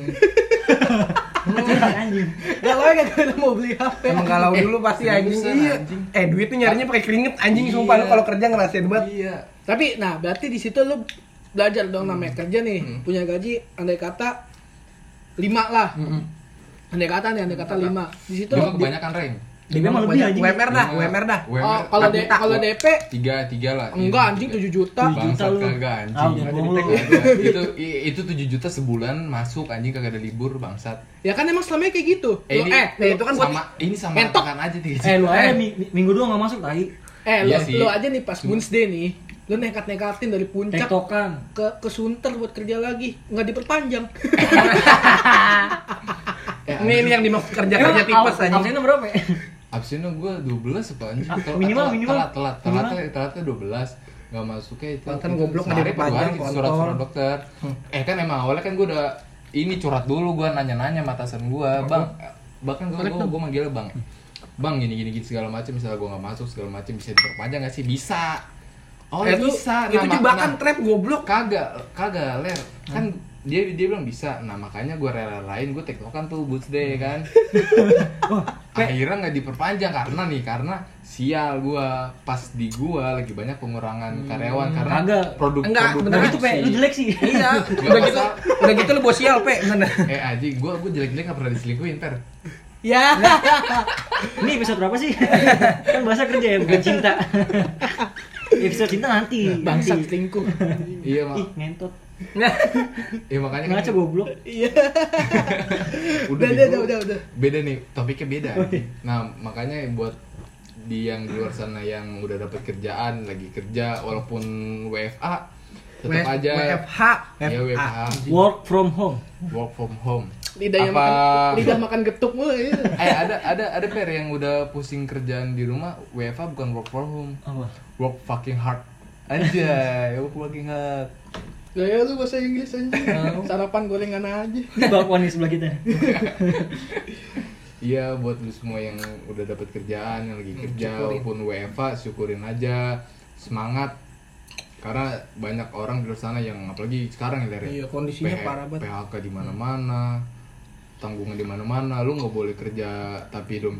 Anjing. galau ya gak mau beli HP. emang galau dulu pasti anjing seriusan, iya anjing. eh duit tuh nyarinya pakai keringet anjing sumpah lu kalau kerja ngerasain banget iya Tapi nah, berarti di situ lu belajar dong namanya kerja nih. Punya gaji andai kata 5 lah. Andai kata nih, andai kata 5. Di situ gue lu- kebanyakan rank Dia memang lebih anjing. UMR Iya. dah UMR dah oh, kalau tapi D- kalau DP tiga tiga lah enggak anjing 7 juta. Tujuh juta Bangsat lu. kagak anjing. Ah, bohong lu. Kagak. itu i- itu tujuh juta sebulan masuk anjing kagak ada libur bangsat Ya kan emang selama kayak gitu. Eh, ini- Lu- eh, eh, itu kan buat- sama ini sama Mentok. ratakan aja Ya, Eh tiga juta lu aja mi- mi- minggu doang gak masuk tai. Eh, Iya lo, sih. lo aja nih pas Wednesday nih, lo nekat-nekatin dari puncak Tektokan. ke ke Sunter buat kerja lagi, nggak diperpanjang. ini ini yang dimaksud kerja Emang kerja tipes ab- anjing absennya berapa ya? abis itu gue dua belas apa anjing Ah, Tel- minimal, telat- minimal. telat telat telat Minimal. telat telatnya dua belas nggak masuknya itu Mantan itu kan goblok, sehari nggak apa dua hari diperpanjang, Hmm. gitu, surat surat kontol. dokter eh kan emang awalnya kan gue udah ini curhat dulu gue nanya nanya matasan gue bang eh, bahkan gue gue gue manggilnya bang bang gini gini gini segala macam misalnya gue nggak masuk segala macam bisa diperpanjang nggak sih bisa oh Eh, ya bisa itu Nah, jebakan nah, trap goblok kagak kagak ler kan dia dia bilang bisa nah makanya gue rela lain gue tektokan tuh boots deh kan akhirnya nggak diperpanjang karena nih karena sial gue pas di gue lagi banyak pengurangan karyawan karena Kagak. produk Enggak, produk beneran. Tapi Nah, itu pe, lu jelek sih. iya udah gitu udah gitu lo bos sial pe bener eh aji gue gue jelek jelek nggak pernah diselingkuhin per ya. Nah, Ini episode berapa sih? kan bahasa kerja ya, bukan cinta. episode cinta nanti. Bangsat nanti. selingkuh. iya mak Ih, ngentot. nah. iya makanya kan Ngaca goblok. Iya. udah Udah, udah, gitu. udah, udah. beda nih topiknya beda nah makanya buat di yang di luar sana yang udah dapat kerjaan lagi kerja walaupun WFA tetap W- aja WFH ya WFA Work from home. work from home Lidahnya Apa- makan lidah makan getuk mulu ya. eh ada ada ada per yang udah pusing kerjaan di rumah WFA bukan work from home Apa? work fucking hard anjay work fucking hard Ya ya lu bahasa Inggris aja. Sarapan gorengan aja. Ini bakwan di sebelah kita. Iya buat lu semua yang udah dapat kerjaan yang lagi Hmm, kerja walaupun WFA syukurin aja semangat karena banyak orang di luar sana yang apalagi sekarang ya Ler, ya? Iya, kondisinya PH parah banget. Hmm. PHK di mana-mana tanggungan di mana-mana lu nggak boleh kerja tapi lu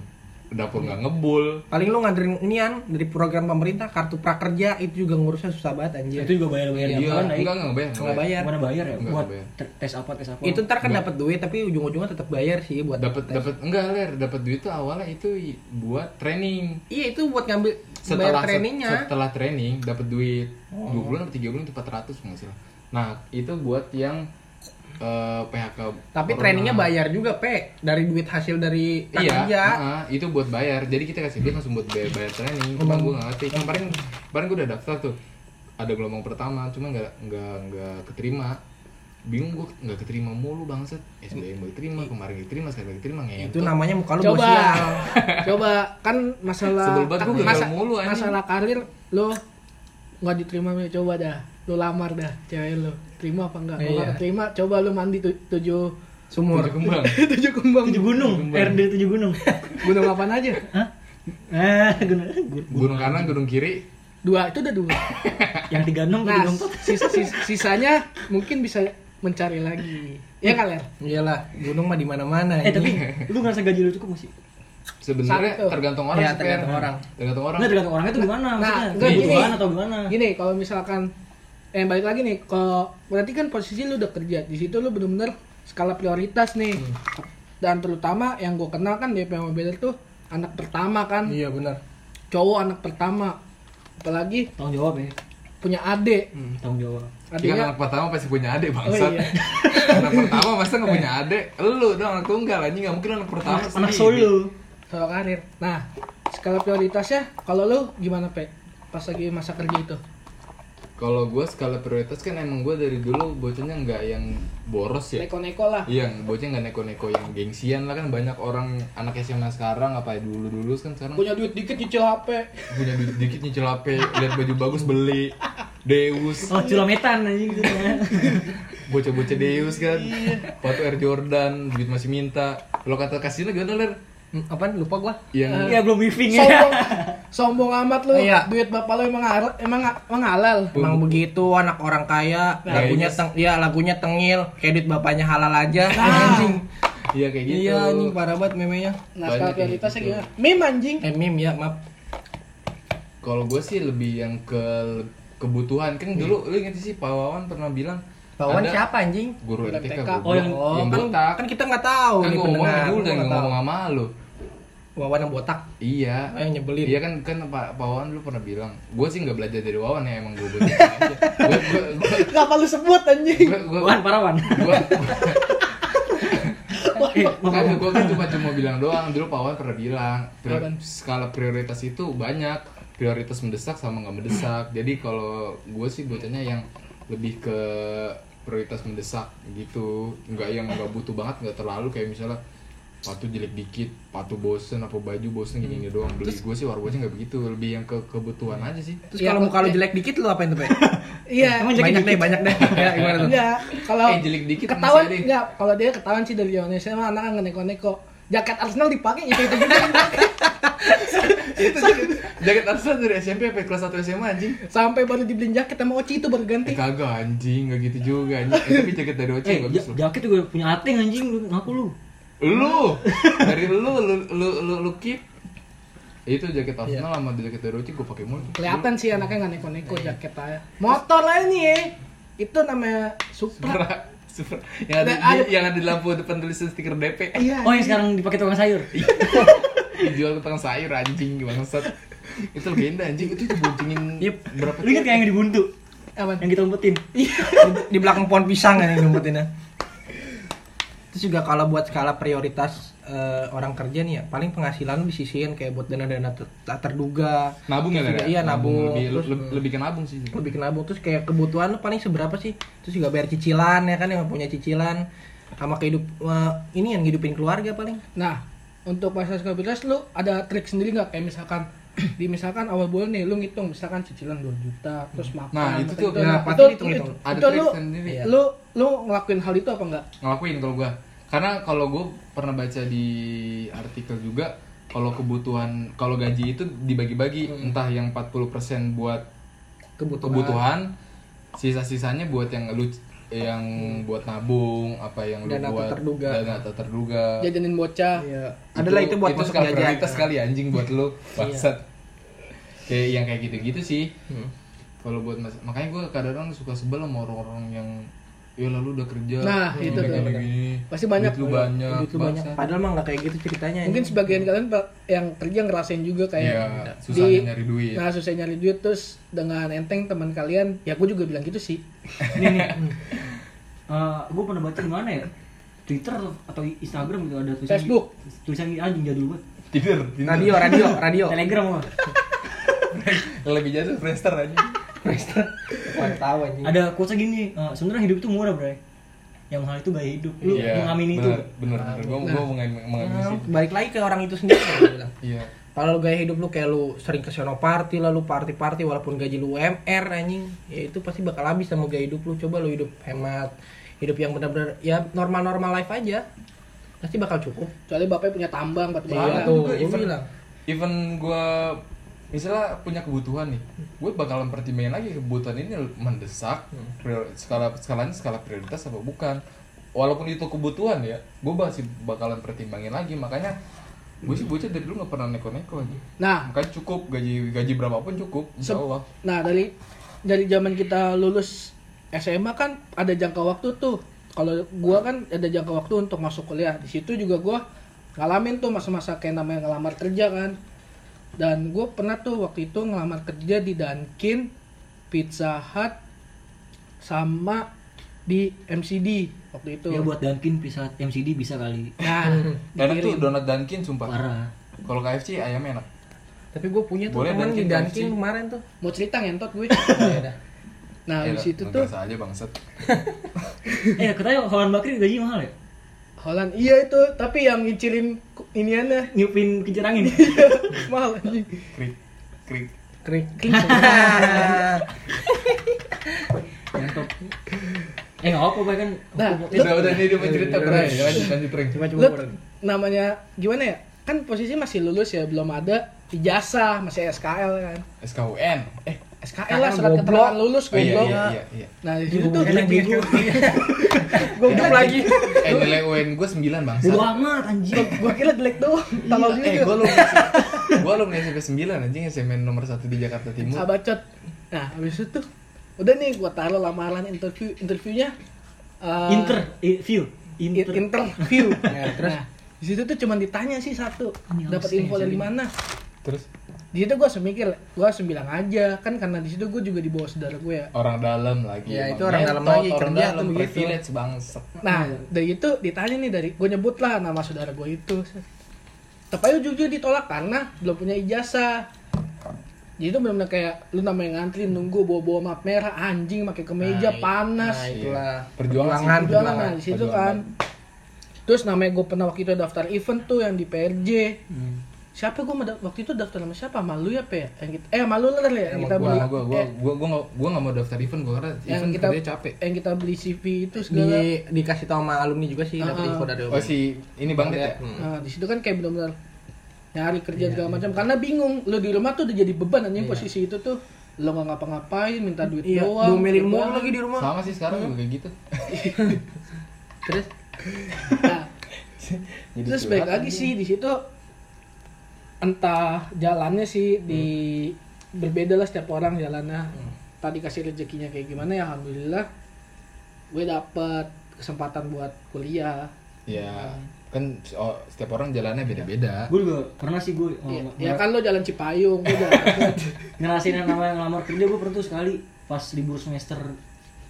dapur Hmm. nggak ngebul paling lu ngandelin inian dari program pemerintah kartu prakerja itu juga ngurusnya susah banget anjir Itu juga bayar-bayar iya bukan enggak enggak bayar nggak bayar Mana bayar ya? Enggak, Buat bayar. ter- tes apa tes apa? itu ntar kan dapat duit tapi ujung-ujungnya tetap bayar sih buat dapat dapat enggak ler dapat duit tuh awalnya itu i- buat training iya itu buat ngambil setelah Bayar trainingnya. Oh. setelah training dapat duit dua bulan atau tiga bulan itu 400 nggak salah nah itu buat yang eh, PHK Tapi corona. trainingnya bayar juga, Pe. Dari duit hasil dari iya kerja. heeh, itu buat bayar jadi kita kasih duit langsung buat bayar, bayar training cuma gue nggak ngerti kemarin kemarin gue udah daftar tuh ada gelombang pertama cuma nggak nggak nggak keterima bingung gue nggak keterima mulu bangset SBM gue terima kemarin diterima sekarang nggak keterima ngeyel Itu namanya muka lu Coba. gua sial. Coba kan masalah Sebel banget gua gagal masa- mulu, anjing. masalah karir lo nggak diterima Mi. coba dah lo lamar dah cewek lo terima apa enggak kalau Iya. nggak terima coba lo mandi tu- tujuh Sumur. Tujuh kembang tujuh kembang tujuh gunung RD tujuh gunung gunung apaan aja Hah? Eh, gunung gunung kanan gunung kiri dua itu udah dua yang 36 enam nah sis- sis- sisanya mungkin bisa mencari lagi ya kalian Iyalah, gunung mah di mana-mana. Eh tapi ini. lu ngerasa gaji lu cukup gak sih? sebenarnya Satu. tergantung orang Iya, sih, Per. tergantung orang. tergantung orang Enggak tergantung orangnya tuh gimana maksudnya. Nah, enggak, Lu gini. butuhan atau gimana? gini kalau misalkan eh balik lagi nih kalau berarti kan posisi lu udah kerja di situ lu bener-bener skala prioritas nih dan terutama yang gue kenal kan DP sama Beler tuh anak pertama kan Iya benar. cowok anak pertama apalagi Tanggung jawab ya. punya adik Hmm. Tanggung jawab. Iya kan adiknya anak pertama pasti punya adik oh bangsat. iya anak pertama masa nggak punya adik? Lu dong anak tunggal anjing nggak mungkin anak pertama. Anak, anak sendiri. solo. soal karir nah skala prioritasnya kalau lu gimana pe pas lagi masa kerja itu Kalau gue skala prioritas kan emang gue dari dulu bocahnya nggak yang boros ya. neko-neko lah Iya, bocah nggak neko-neko yang gengsian lah kan banyak orang anak SMA sekarang apa ya, dulu-dulu kan sekarang punya duit dikit nyicil HP punya duit dikit nyicil HP, lihat baju bagus beli Deus, Oh, culametan anjing gitu. bocah-bocah Deus kan, foto Air Jordan, duit masih minta. Lo kata kasihnya gimana ler? Hmm, Apaan? Lupa gua. Yang Iya, belum briefing ya. sombong sombong amat lu Iya. duit bapak lu emang har- emang emang halal Emang begitu anak orang kaya, Nah, lagunya iya. teng ya lagunya tengil, kredit bapaknya halal aja. Anjing. iya kayak gitu. Iya, anjing parah banget memenya. Banyak nah skala yang prioritasnya gitu. gimana meme anjing Eh, meme ya, maaf. Kalau gue sih lebih yang ke kebutuhan kan dulu lu inget sih Pak Wawan pernah bilang Bawaan Hmm. ada siapa anjing? Guru Bukan MTK. TK. goblok. Oh, yang- Oh, yang kan, botak. kan kita nggak tahu kan nih gue ngomong pendengar. dulu Gua dan nggak ngomong tahu. sama lu. Wawan yang botak, Iya. oh, yang nyebelin. Iya kan kan Pak Pak Wawan lu pernah bilang, gue sih nggak belajar dari Wawan ya emang gue belajar aja. Gue gue kenapa lu sebut anjing gue gue Wan Parawan. Iya, Eh, maaf, kan maaf. gue kan cuma cuma bilang doang dulu Pak Wan pernah bilang prior- skala prioritas itu banyak prioritas mendesak sama nggak mendesak jadi kalau gue sih bocahnya yang lebih ke prioritas mendesak gitu nggak yang nggak butuh banget nggak terlalu kayak misalnya patu jelek dikit patu bosen apa baju bosen gini gini doang beli gue sih warbonya nggak begitu lebih yang ke kebutuhan aja sih Terus Iya, kalau kok- muka lu jelek dikit lu apain tuh, Pe? iya Emang jelek banyak deh, dikit? banyak deh. Ya, gimana tuh? enggak kalau Eh, jelek dikit masih ketahuan ada. enggak kalau dia ketahuan sih dari zaman SMA anak nggak neko-neko jaket Arsenal dipakai gitu, itu itu juga yang dipakai. itu jaket jaket atas dari SMP sampai kelas 1 SMA anjing sampai baru dibeliin jaket sama Oci itu baru eh ganti kagak anjing nggak gitu juga anjing eh, tapi jaket dari Oce Eh, ja- bagus loh jaket juga punya ating anjing lu ngaku lu. lu dari lu lu lu lu, lu keep itu jaket Iya. Arsenal sama jaket Doruci gue pakai mulu kelihatan sih anaknya nggak neko-neko Iya. jaket aja motor lain nih ya itu namanya Supra Supra- Supra. Nah, yang ada, Dan ada- yang ada di lampu depan tulisan stiker DP iya Oh, yang sekarang dipakai tukang sayur. dijual ke tukang sayur anjing bangsat itu legenda anjing itu diboncengin Yep. iya, berapa Lu inget kayak yang dibuntu, Apaan? yang kita umpetin. di, di belakang pohon pisang kan yang nyumpetinnya terus juga kalau buat skala prioritas eh, orang kerja nih ya paling penghasilan lu disisihin kayak buat dana-dana ter- tak terduga Nah. nabung ya Terus juga- Lera? iya nabung lebih, terus eh, lebih, lebih ke nabung sih lebih ke nabung terus kayak kebutuhan lu paling seberapa sih terus juga bayar cicilan ya kan yang punya cicilan sama kehidup eh, ini yang hidupin keluarga paling Nah, untuk pasar kapitalitas lu ada trik sendiri nggak? Kayak misalkan di misalkan awal bulan nih lu ngitung misalkan cicilan 2 juta terus makan Nah, itu apa tuh, itu, nah, itu, pasti itu, dihitung-hitung. itu Ada trik lu, sendiri. ya? lu lu ngelakuin hal itu apa enggak ngelakuin kalau gua karena kalau gua pernah baca di artikel juga kalau kebutuhan kalau gaji itu dibagi-bagi entah yang 40% buat Hmm. kebutuhan, kebutuhan sisa-sisanya buat yang lu yang buat nabung apa yang lu Hmm. Dana tak buat terduga. dana tak terduga jajanin bocah Iya. adalah itu buat masuk skala jajan prioritas sekali anjing buat lu bangsat Iya. kayak yang kayak Hmm. gitu-gitu sih kalau buat mas makanya gue kadang-kadang suka sebel sama orang-orang yang ya lalu udah kerja Nah, lu itu tuh. gini, gini, Pasti banyak. duit lu banyak Duit lu banyak. bangsat. Padahal mah nggak kayak gitu ceritanya. Ya, Mungkin ini. sebagian kalian pa- yang kerja ngerasain juga kayak Iya, susah nyari duit. Nah, susah nyari duit terus dengan enteng teman kalian, ya gue juga bilang gitu sih. gue Eh, pernah baca di mana ya? Twitter atau, atau Instagram gitu ada tulisan Facebook. tulisan gini anjing jadul banget. tidur tidur radio, radio, radio. Telegram apa? lebih jatuh Friendster aja Wah, tahu anjing. ada quotes gini, eh, sebenarnya hidup itu murah, Bray. Yang mahal itu gaya hidup. Iya, Lu mengamini itu. bener, bener bener gue gue mengamini Nah, sih balik lagi ke orang itu sendiri kalau gua bilang. iya kalau lu gaya hidup lu kayak lu sering ke sono party lah lu party party walaupun gaji lu UMR anjing ya itu pasti bakal habis sama gaya hidup lu coba lu hidup hemat hidup yang benar-benar ya normal normal life aja pasti bakal cukup Kecuali bapaknya punya tambang batu bara. Iya tuh, juga gua even- bilang. even gue misalnya punya kebutuhan nih gue bakalan pertimbangin lagi kebutuhan ini mendesak prior- skala skalanya skala prioritas apa bukan walaupun itu kebutuhan ya gue masih bakalan pertimbangin lagi makanya gue sih bocah dari dulu nggak pernah neko-neko aja Nah, makanya cukup gaji gaji berapapun cukup insya Sep- Allah Nah dari dari zaman kita lulus SMA kan ada jangka waktu tuh. Kalau gua kan ada jangka waktu untuk masuk kuliah. Di situ juga gua ngalamin tuh masa-masa kayak namanya ngelamar kerja kan. Dan gue pernah tuh waktu itu ngelamar kerja di Dunkin, Pizza Hut, sama di MCD waktu itu. Ya buat Dunkin bisa MCD bisa kali. Nah, enak tuh dikirim. donat Dunkin sumpah Parah. kalau KFC ayamnya enak tapi gue punya tuh Boleh, temen di Dunkin, Dunkin Dunkin. kemarin tuh mau cerita ngentot gue. Ya udah. Nah, di Enak, situ tuh ngegas aja bangset eh, katanya Holland Bakri gaji mahal ya? Holland iya itu, tapi yang ngicilin iniannya Nyupin kincir angin. mahal anjing. krik krik krik Mantap. Eh, enggak apa-apa Bray, kan. Nah, lu- udah udah ini dia mau cerita bro Iya, lanjut lanjut Reng. cuma cuma lu namanya gimana ya kan posisi masih lulus ya belum ada ijazah masih SKL kan SKUN eh SKL lah SKL, surat goblok. keterangan lulus oh iya goblok iya iya, iya. nah di situ gitu. tuh Goblok. Iya. goblok lagi Eh nilai UN gue 9 bang Bodo amat anjing. gua kira jelek doang gitu. tolong Eh gue juga lu Gue lu SMP 9 anjing SMN nomor 1 di Jakarta Timur abacot nah habis itu tuh udah nih gua taruh lamaran interview interviewnya eh, Inter eh, view. in- Inter. interview Ya, nah di situ tuh cuman ditanya sih satu dapat info dari mana Terus di situ gua semikir gua sembilan aja kan karena di situ gua juga di bawah saudara gue ya orang dalam lagi Ya, emang. itu orang dalam Ngentot, lagi, Orang kerja dalam tuh begitu. privilege bangset Nah, Iya. dari itu ditanya nih dari gue nyebut lah nama saudara gue itu. Tapi ujung ditolak karena belum punya ijazah. Jadi itu benar-benar kayak lu namanya ngantri nunggu bawa-bawa map merah anjing pakai kemeja panas. nah itulah Iya. Perjuangan sih, perjuangan, Udah lah, perjuangan. nah, di situ kan. Terus namanya gue pernah waktu itu daftar event tuh yang di PRJ. Hmm. Siapa gue waktu itu daftar nama siapa? Malu ya, Pe? Yang kita, eh, malu lah ya. Yang kita Gue beli. gue gue eh, gue gue nggak gue nggak mau daftar event gue karena yang event kita kerja capek. yang kita beli CV itu di segala. dikasih tau sama alumni juga sih dapat Ah. info dari Iya, Oh si ini bang Det ya. Nah, di situ kan kayak benar-benar nyari kerja iya. segala macam karena bingung lu di rumah tuh udah jadi beban anjing posisi itu tuh lo nggak ngapa-ngapain minta duit iya doang gitu kan. domelin beban. mulu lagi di rumah Sama sih sekarang juga kayak gitu. terus Nah, Jadi terus curhat baik lagi sih di situ entah jalannya Hmm. sih di berbeda lah setiap orang jalannya tadi kasih rezekinya kayak gimana ya alhamdulillah gue dapet kesempatan buat kuliah Ya kan oh, setiap orang jalannya beda-beda. Gue juga pernah sih eh, gue Oh, ya, ya kan lo jalan Cipayung gue jalan ngerasain yang namanya ngelamar kerja gue pernah tuh sekali pas libur semester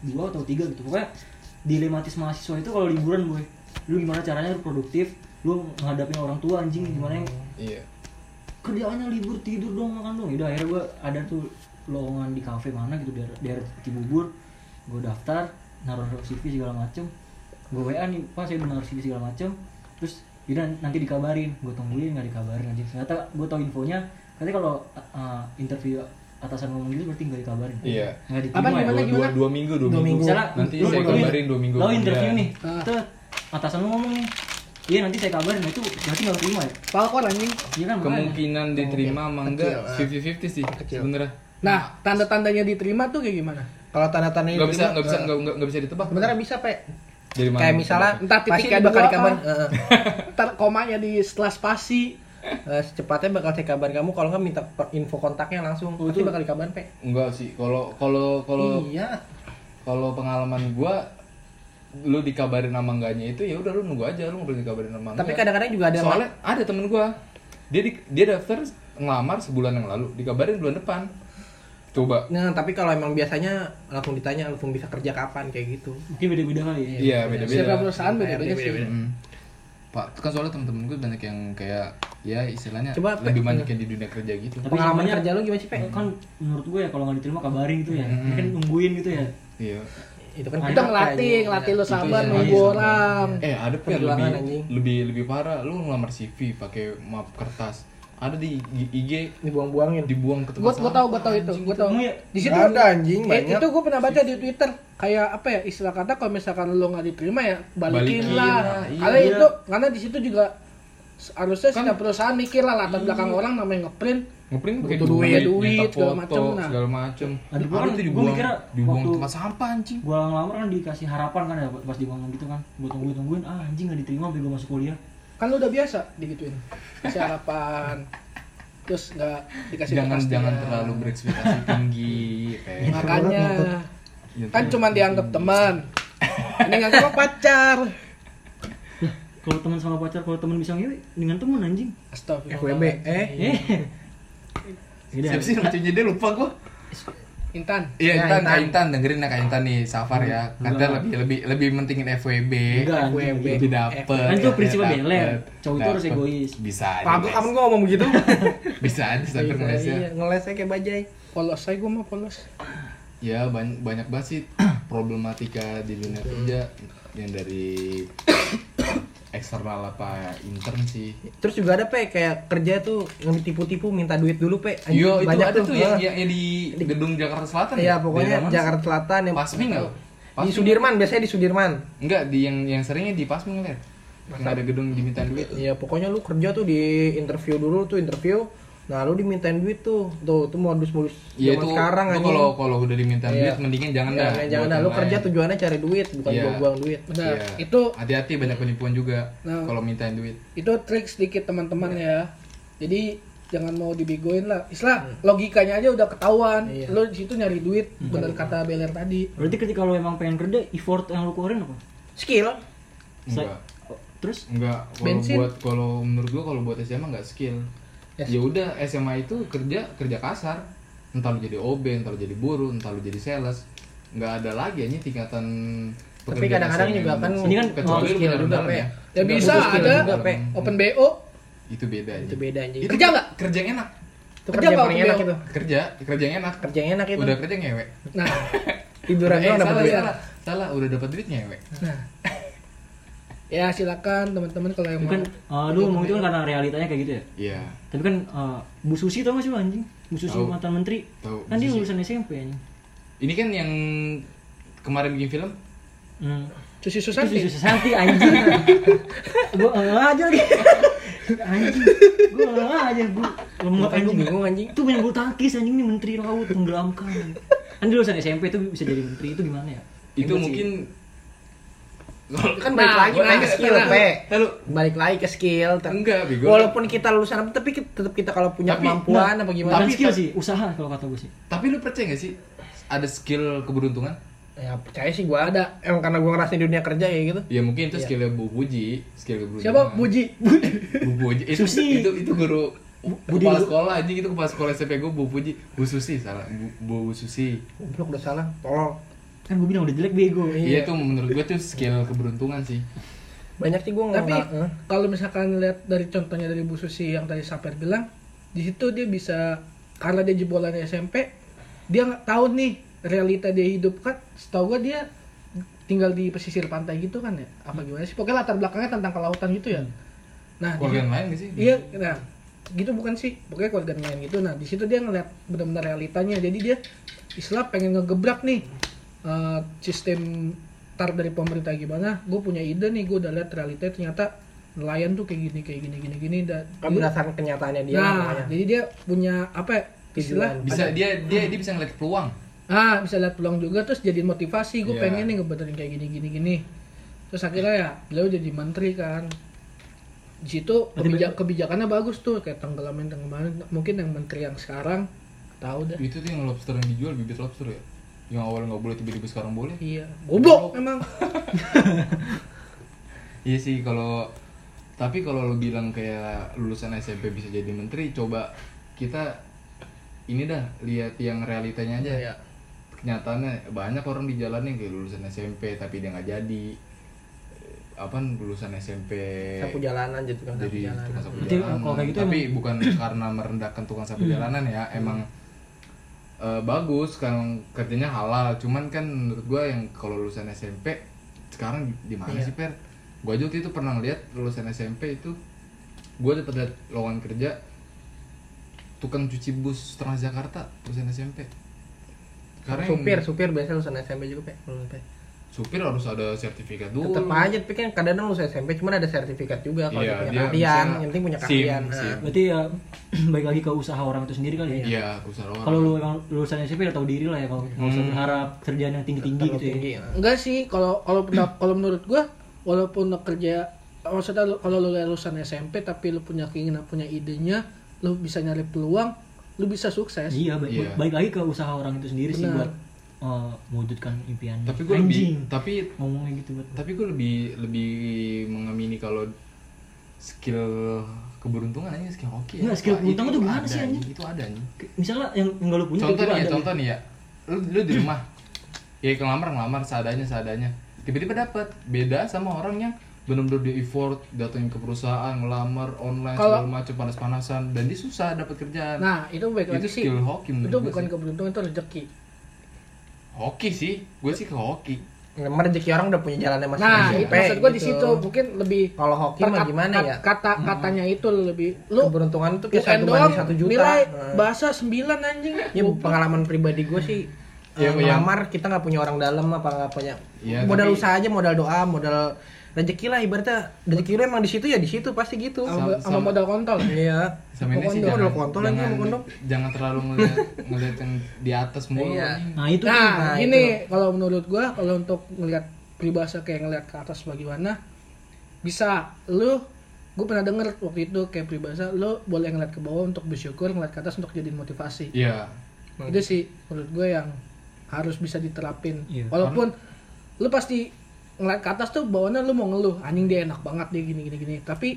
2 atau 3 gitu pokoknya dilematis mahasiswa itu kalau liburan gue lu gimana caranya lu produktif lu menghadapi orang tua anjing gimana yang Iya. kerjaannya libur tidur dong makan dong udah akhirnya gue ada tuh lowongan di kafe mana gitu daerah, daerah Cibubur gue daftar naruh naruh CV segala macem gue WA nih pas saya naruh CV segala macem terus yaudah nanti dikabarin gue tungguin nggak dikabarin aja ternyata gue tau infonya katanya kalau uh, interview atasan ngomong gitu berarti nggak dikabarin Iya. nggak Apa, diterima ya gimana? Dua, dua, dua minggu dua, minggu. misalnya Nanti lu mau saya interview- kabarin dua minggu. Iya. lo kemudian. interview nih Ah. tuh atasan lu ngomong nih iya nanti saya kabarin nah, itu berarti nggak terima ya palkon anjing iya kan makanya. Kemungkinan diterima sama enggak 50-50 sih sebenarnya. nah tanda-tandanya diterima tuh kayak gimana kalau tanda-tanda Enggak bisa enggak bisa enggak enggak bisa ditebak. sebenarnya bisa Ah, pe Dari mana? kayak misalnya Entah pasti titiknya bakal dua dikabar apa. eh, Ntar komanya di setelah spasi eh, eh, secepatnya bakal saya kabar kamu kalau nggak minta per- info kontaknya langsung pasti bakal dikabarin pe Enggak sih. Kalau kalau kalau iya kalau pengalaman gua lu dikabarin sama enggaknya itu ya udah lu nunggu aja lu nggak boleh dikabarin sama Tapi enggak. kadang-kadang juga ada Iya. soalnya ada temen gua dia di- dia daftar ngelamar sebulan yang lalu dikabarin bulan depan coba Nah, tapi kalau emang biasanya langsung ditanya langsung bisa kerja kapan kayak gitu. Mungkin beda-beda kali ya. iya beda beda Setiap perusahaan beda-beda sih. pak kan soalnya temen-temen gue banyak yang kayak ya istilahnya Coba, Pe. lebih banyak yang di dunia kerja gitu Tapi Pengalaman sebenarnya- kerja lu gimana sih, Pe? Hmm. kan menurut gue ya kalau nggak diterima kabarin gitu ya. Ini kan nungguin gitu ya. iya Itu kan Kita kita ngelatih, ngelatih lo sabar iya, nunggu iya. orang. eh ada pun Biar lebih ruangan, anjing. lebih lebih parah lu ngelamar CV pakai map kertas ada di IG dibuang-buangin. dibuang ke Gue tempat gue tau gue tau itu, gue tau. Emang ya? Di situ Ada, anjing, Eh, banyak. itu gue pernah baca di Twitter kayak apa ya istilah kata kalau misalkan lo nggak diterima ya Balikin balikin, lah. lah, iya. Karena itu karena di situ juga se- harusnya Kan- setiap perusahaan mikir lah latar belakang orang namanya ngeprint ngeprint pakai Butuh duit, duit, nyetak segala foto, macem, nah. segala macem Lagi pula Ada kan tuh gua dibuang mikirnya dibuang waktu- tempat sampah anjing Gue ngelamar kan dikasih harapan kan ya pas di ngomong gitu kan. Gue tungguin-tungguin, ah anjing nggak diterima bego masuk kuliah. kan lo udah biasa digituin kasih harapan terus nggak dikasih jangan kepastian. jangan terlalu berekspektasi tinggi eh. kayak makanya Ya, kan terus. cuma dianggap teman ini nggak sama pacar Kalau teman sama pacar, kalau teman bisa ngewe, dengan teman anjing. Astagfirullah. FWB, eh. Eh. Beda. siapa sih lucunya dia lupa gua Intan. Ya, Iya Intan, Intan. Kak Intan dengerin ya Kak Intan nih Safar ya Enggak. Kata lebih lebih lebih mentingin FWB Enggak, FWB. anjing. Lebih dapet ya, Kan itu prinsipnya dapet, beler. Cowok itu harus dapet. egois. Bisa aja Pagu kamu gua ngomong begitu. Iya. guys. ya. Bisa aja sampai Malaysia Iya, ngelesnya kayak bajai. Polos saya gue mah polos. Ya banyak, banyak banget sih problematika di dunia kerja Yang dari eksternal apa intern sih Terus juga ada pe kayak kerja tuh yang ditipu-tipu minta duit dulu pe. Anjing, Yo itu ada tuh yang, Ah. ya- yang, yang di gedung Jakarta Selatan ya? Iya Daerah pokoknya mana sih? Jakarta Selatan yang Pasmi nggak? lo? di Pasmi. Sudirman biasanya di Sudirman. Enggak, di yang yang seringnya di Pasmi ngeliat. Yang ada gedung diminta duit. Iya pokoknya lu kerja tuh di interview dulu tuh interview. Nah lu dimintain duit tuh tuh tuh modus-modus Ya zaman itu sekarang itu anjing. kalau kalau udah diminta Iya. duit mendingan jangan Iya, dah. jangan, jangan dah. Lu kerja Nah, tujuannya cari duit bukan Iya. buang-buang duit. Benar. Itu hati-hati banyak penipuan juga Nah. kalau mintain duit. itu trik sedikit teman-teman Iya. ya. Jadi jangan mau dibegoin lah. Istilah logikanya aja udah ketahuan. Iya. Lo di situ nyari duit, bener kata Beler tadi. Berarti ketika lo emang pengen kerja, effort yang lo keluarin apa? Skill. Sa- Enggak. Oh, Terus Enggak, kalau Bensin. buat kalau menurut gua kalau buat SMA enggak skill. Yes. Ya udah SMA itu kerja kerja kasar. Entar lu jadi OB, entar lu jadi buruh, entar lu jadi sales. Enggak ada lagi ini tingkatan Tapi pekerjaan kadang-kadang SMA yang juga kan benar. Ini kan kecuali mau lu skill juga, benar-benar Pe. ya. Ya Enggak, bisa itu skill ada juga, Pe. open BO. Itu beda aja. Itu beda anjing. Itu Kerja nggak? kerja yang enak Itu Kerja kerja apa paling open enak BO? itu. kerja kerja yang enak Kerja yang enak itu. udah kerja ngewe Nah, Tiduran Eh, doang dapat salah, duit. salah salah udah dapat duit ngewe ya silakan teman-teman kalau yang itu mau. kan Hmm. eh, lu ngomong itu kan karena realitanya kayak gitu ya. iya Tapi kan eh, Bu Susi tau gak sih lo anjing? Bu Susi Tahu. mantan menteri. Tahu, Kan Bu dia Susi. lulusan SMP anjing. ini kan yang kemarin bikin film Hmm. Susi Terus Susanti. Susi Susanti anjing. gua ngeh aja lagi. Anjing. Gua ngeh aja gua lemot Makanya anjing. gue bingung anjing. Itu punya bulu tangkis anjing nih menteri laut tenggelamkan. Kan dia lulusan SMP tuh bisa jadi menteri itu gimana ya? itu Ribet sih. mungkin Kan balik lagi gua main tanya, skill, tanya, Pe. tanya lu, Balik lagi ke skill. Ter- enggak bego Walaupun kita lulusan apa tapi kita- tetap kita kalau punya Nah, Tapi- kemampuan Nah, apa gimana? Bukan Tapi- skill sih, usaha kalau kata gue sih. tapi lu percaya gak sih ada skill keberuntungan Ya percaya sih gua ada. Emang karena gua ngerasain dunia kerja kayak gitu. ya mungkin itu skillnya Bu Puji skill keberuntungan Siapa? Buji. Bu Puji itu Susi. itu itu guru Budi kepala Lu- sekolah aja gitu kepala sekolah SMP gue Bu Puji Bu Susi salah Bu, Bu Susi Goblok udah salah. Tolong. Kan gue bilang udah jelek bego. Iya itu menurut gue tuh skill keberuntungan sih. Banyak sih gua nggak- Tapi nggak- eh. kalau misalkan lihat dari contohnya dari Bu Susi yang tadi Saper bilang, di situ dia bisa karena dia jebolannya SMP, dia nggak tahu nih realita dia hidup kan. Setahu gua dia tinggal di pesisir pantai gitu kan ya. Apa gimana sih? Pokoknya latar belakangnya tentang kelautan gitu Hmm. ya. Nah, di- Keluarga yang lain gak sih? iya, nah gitu bukan sih. Pokoknya keluarga yang lain gitu. Nah, di situ dia ngeliat benar-benar realitanya. Jadi dia istilah pengen ngegebrak nih eh, sistem tar dari pemerintah gimana gue punya ide nih gue udah lihat realitanya ternyata nelayan tuh kayak gini kayak gini gini gini dan kan berdasarkan kenyataannya dia lah nah pokoknya. jadi dia punya apa ya, istilah Tujuan. Bisa dia dia dia bisa ngeliat peluang. ah bisa lihat peluang juga terus jadi motivasi gue Iya. pengen nih ngebenerin kayak gini gini gini terus akhirnya ya beliau jadi menteri kan di situ kebija- kebijakannya bagus tuh kayak tenggelamin tenggelamin mungkin yang menteri yang sekarang tahu deh Itu tuh yang lobster yang dijual bibit lobster ya. yang awal nggak boleh tiba-tiba sekarang boleh Iya, goblok emang. Iya sih kalau tapi kalau lo bilang kayak lulusan SMP bisa jadi menteri, coba kita ini dah lihat yang realitanya aja. Iya. Kenyataannya banyak orang di jalan yang kayak lulusan SMP tapi dia nggak jadi Eh, apa lulusan SMP Sapu jalanan gitu kan. jadi tukang sapu jadi jalanan. tukang sapu Berarti jalanan. kalau kayak gitu tapi bukan karena merendahkan tukang sapu Hmm. jalanan ya emang eh, bagus kan kerjanya halal cuman kan menurut gua yang kalau lulusan SMP sekarang di mana Iya. sih per gua aja waktu itu pernah ngeliat lulusan SMP itu gua dapat liat lowongan kerja tukang cuci bus Transjakarta lulusan SMP karena yang- Eh, supir, supir biasanya lulusan SMP juga, Pe. Lulusan SMP. supir harus ada sertifikat dulu Tetap Hmm. aja, tapi kan kadang-kadang lulusan SMP cuman ada sertifikat juga kalau Iya, dia punya dia keahlian, misalnya yang penting punya SIM, keahlian. Nah, SIM. berarti ya baik lagi ke usaha orang itu sendiri kali ya iya usaha orang kalau lu emang lulusan SMP udah tahu diri lah ya kalau nggak usah Hmm. berharap kerjaan yang tinggi tinggi terlalu gitu ya tinggi, nah. Enggak sih, kalau kalau pendap- kalau menurut gua walaupun lo kerja maksudnya lo- kalau lu lulusan SMP tapi lu punya keinginan, punya idenya, lu bisa nyari peluang, lu bisa sukses. iya baik, Iya. baik lagi ke usaha orang itu sendiri sih Benar. buat eh, mewujudkan impiannya tapi gua Anjing. lebih tapi ngomongnya gitu buat tapi gue lebih lebih mengamini kalau skill keberuntungan aja skill hoki ya. Iya, skill Wah, keberuntungan itu tuh gimana ada sih, nih, anjing? Itu ada nih. misalnya yang nggak lu punya Contoh tiba-tiba nih ya, ada. contoh nih ya. Lu, lu di rumah. ya ngelamar ngelamar seadanya seadanya. Tiba-tiba dapat beda sama orang yang benar-benar di effort datangin ke perusahaan ngelamar online Kalau- segala macam panas-panasan dan dia susah dapat kerjaan. Nah, itu baik itu lagi sih. skill hoki menurut Itu gua bukan sih. keberuntungan, itu rezeki. hoki sih. Gue sih ke hoki. Emang ah. Nah, rezeki orang udah punya jalannya masing-masing. Nah, itu Pe, maksud gua di gitu. situ mungkin lebih Kalau hoki mah perkat- gimana ya? Kata katanya itu lebih lu Lu keberuntungan itu kayak UN satu doang banding satu juta. nilai Nah. bahasa 9 anjing. Ya pengalaman pribadi gue sih eh, Iya, iya. ngelamar kita nggak punya orang dalam apa nggak punya Iya, modal tapi- usaha aja modal doa modal rezeki lah ibaratnya rezeki lu emang di situ ya di situ pasti gitu sama, Sama- sama sama- modal kontol. iya Oh. Sama ini sih Pokoknya jangan, udah kontol lagi jangan, sama kondom. jangan terlalu ngeliat, ngeliat yang di atas mulu. Iya. anjing. nah itu Nah, Nah, ini kalau menurut gua kalau untuk ngelihat peribahasa kayak ngelihat ke atas bagaimana bisa lu gue pernah denger waktu itu kayak peribahasa lu boleh ngeliat ke bawah untuk bersyukur ngeliat ke atas untuk jadi motivasi Iya. itu sih menurut gue yang harus bisa diterapin Iya. walaupun lu pasti ngeliat ke atas tuh bawaannya lu mau ngeluh anjing dia enak banget dia gini gini gini tapi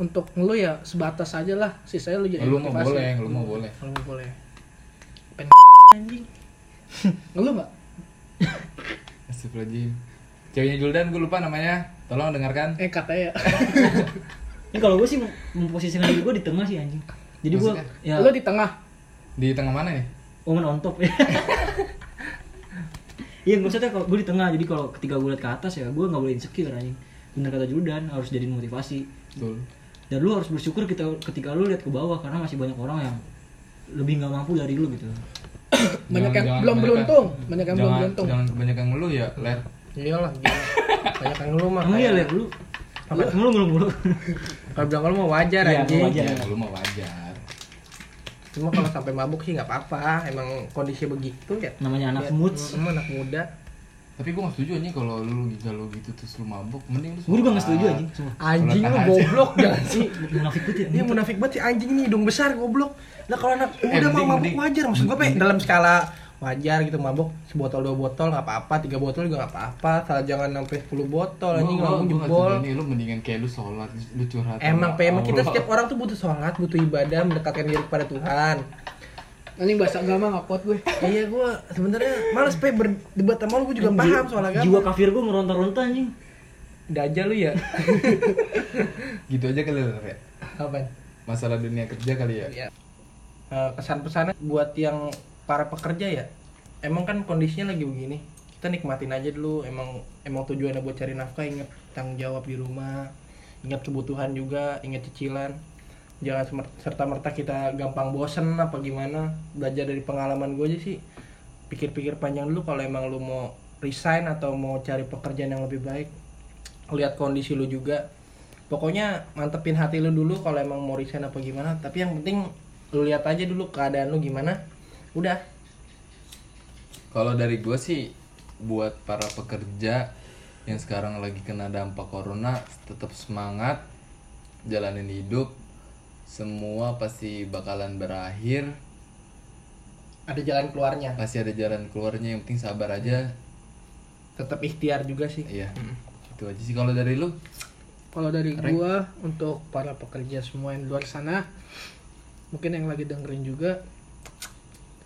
untuk ngeluh ya sebatas aja lah sisanya lu jadi Lu mau motivasi boleh, lu mau boleh. Lu mau boleh Pen anjing ngeluh nggak Astagfirullahaladzim Ceweknya Juldan gue lupa namanya Tolong dengarkan eh katanya ini kalau gue sih mem- memposisikan diri gue di tengah sih anjing jadi gue Maksudnya? ya lu di tengah Di tengah mana ya? nih? woman on top ya iya maksudnya kalau gue di tengah jadi kalau ketika gue liat ke atas ya gue nggak boleh insecure anjing bener kata Judan harus jadi motivasi Betul dan lu harus bersyukur kita ketika lu lihat ke bawah karena masih banyak orang yang lebih nggak mampu dari lu gitu Jangan- banyak yang jangan belum kebanyakan- beruntung banyak yang belum jangan, beruntung Jangan kebanyakan ngeluh ya Ler iyalah gila. banyak yang ngeluh mah emang iya kayak- lihat lu lu mulu mulu mulu kalau bilang ngeluh mah wajar Iya, anjing wajar. Ya lu mah wajar cuma kalau sampai mabuk sih nggak apa-apa emang kondisi begitu ya namanya anak Ya, moods emang anak muda Tapi gue gak setuju anjing kalau lu gila lu gitu terus lu mabuk Mending lu gue juga nggak sholat. setuju anjing semua anjing lu tahan sih. goblok jangan sih munafik banget ya Dia munafik banget sih anjing nih hidung besar goblok. Lah kalau anak muda mending- mau mabuk mending- wajar maksud gue pe dalam skala wajar gitu mabuk sebotol dua botol nggak apa-apa tiga botol juga nggak apa-apa salah jangan sampai 10 botol Gua- anjing gua- ngomong gua nggak jebol setuju nih, Lu mendingan kayak lu sholat Lu curhat emang pe sama emang kita Allah. setiap orang tuh butuh sholat butuh ibadah mendekatkan diri kepada Tuhan anjing bahasa agama nggak kuat gue iya gue sebenarnya males pe berdebat sama lu gue juga paham soal agama jiwa kafir gue meronta-ronta anjing dajal lu ya Gitu aja kali Ler ya apa Masalah dunia kerja kali ya kesan pesannya Eh, buat yang para pekerja ya emang kan kondisinya lagi begini kita nikmatin aja dulu emang emang tujuannya buat cari nafkah ingat tanggung jawab di rumah ingat kebutuhan juga ingat cicilan jangan semer- serta-merta kita gampang bosen apa gimana belajar dari pengalaman gue aja sih pikir-pikir panjang dulu kalau emang lu mau resign atau mau cari pekerjaan yang lebih baik lihat kondisi lu juga pokoknya mantepin hati lu dulu kalau emang mau resign apa gimana tapi yang penting lu lihat aja dulu keadaan lu gimana udah Kalau dari gue sih buat para pekerja yang sekarang lagi kena dampak corona tetap semangat jalanin hidup semua pasti bakalan berakhir ada jalan keluarnya pasti ada jalan keluarnya yang penting sabar aja tetap ikhtiar juga sih iya itu aja sih kalau dari lu Kalau dari Reng. gua untuk para pekerja semua yang di luar sana, mungkin yang lagi dengerin juga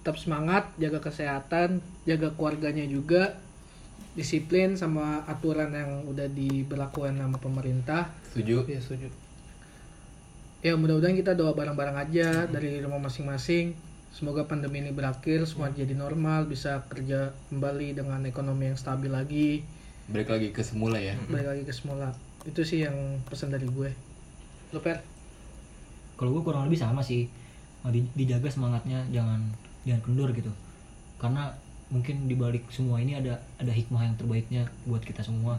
tetap semangat, jaga kesehatan, jaga keluarganya juga, disiplin sama aturan yang udah diberlakukan sama pemerintah. setuju Iya setuju. Ya mudah-mudahan kita doa bareng-bareng aja dari rumah masing-masing. Semoga pandemi ini berakhir, semua jadi normal, bisa kerja kembali dengan ekonomi yang stabil lagi, balik lagi ke semula ya balik lagi ke semula. Itu sih yang pesan dari gue. Lo per? kalau gue kurang lebih sama sih Nah, di- dijaga semangatnya jangan jangan kendur gitu karena mungkin dibalik semua ini ada ada hikmah yang terbaiknya buat kita semua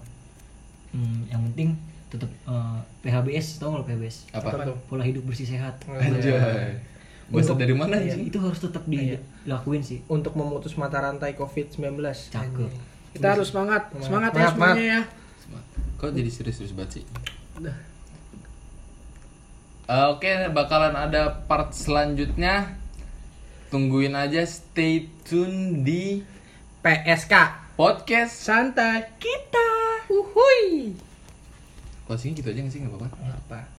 Hmm, yang penting tetap eh, PHBS tau nggak lo PHBS apa tuh? pola hidup bersih sehat aja Bosok dari mana Iya, sih itu harus tetap dilakuin sih Untuk memutus mata rantai COVID-19. Cakep. Kita harus semangat, semangat, Semangat. ya Semangat, semuanya ya. kok jadi serius-serius banget sih Udah. Eh, Oke, bakalan ada part selanjutnya. Tungguin aja, stay tune di PSK. podcast. Santai kita. Uhuy. Closing gitu aja nggak sih nggak apa-apa. Apa?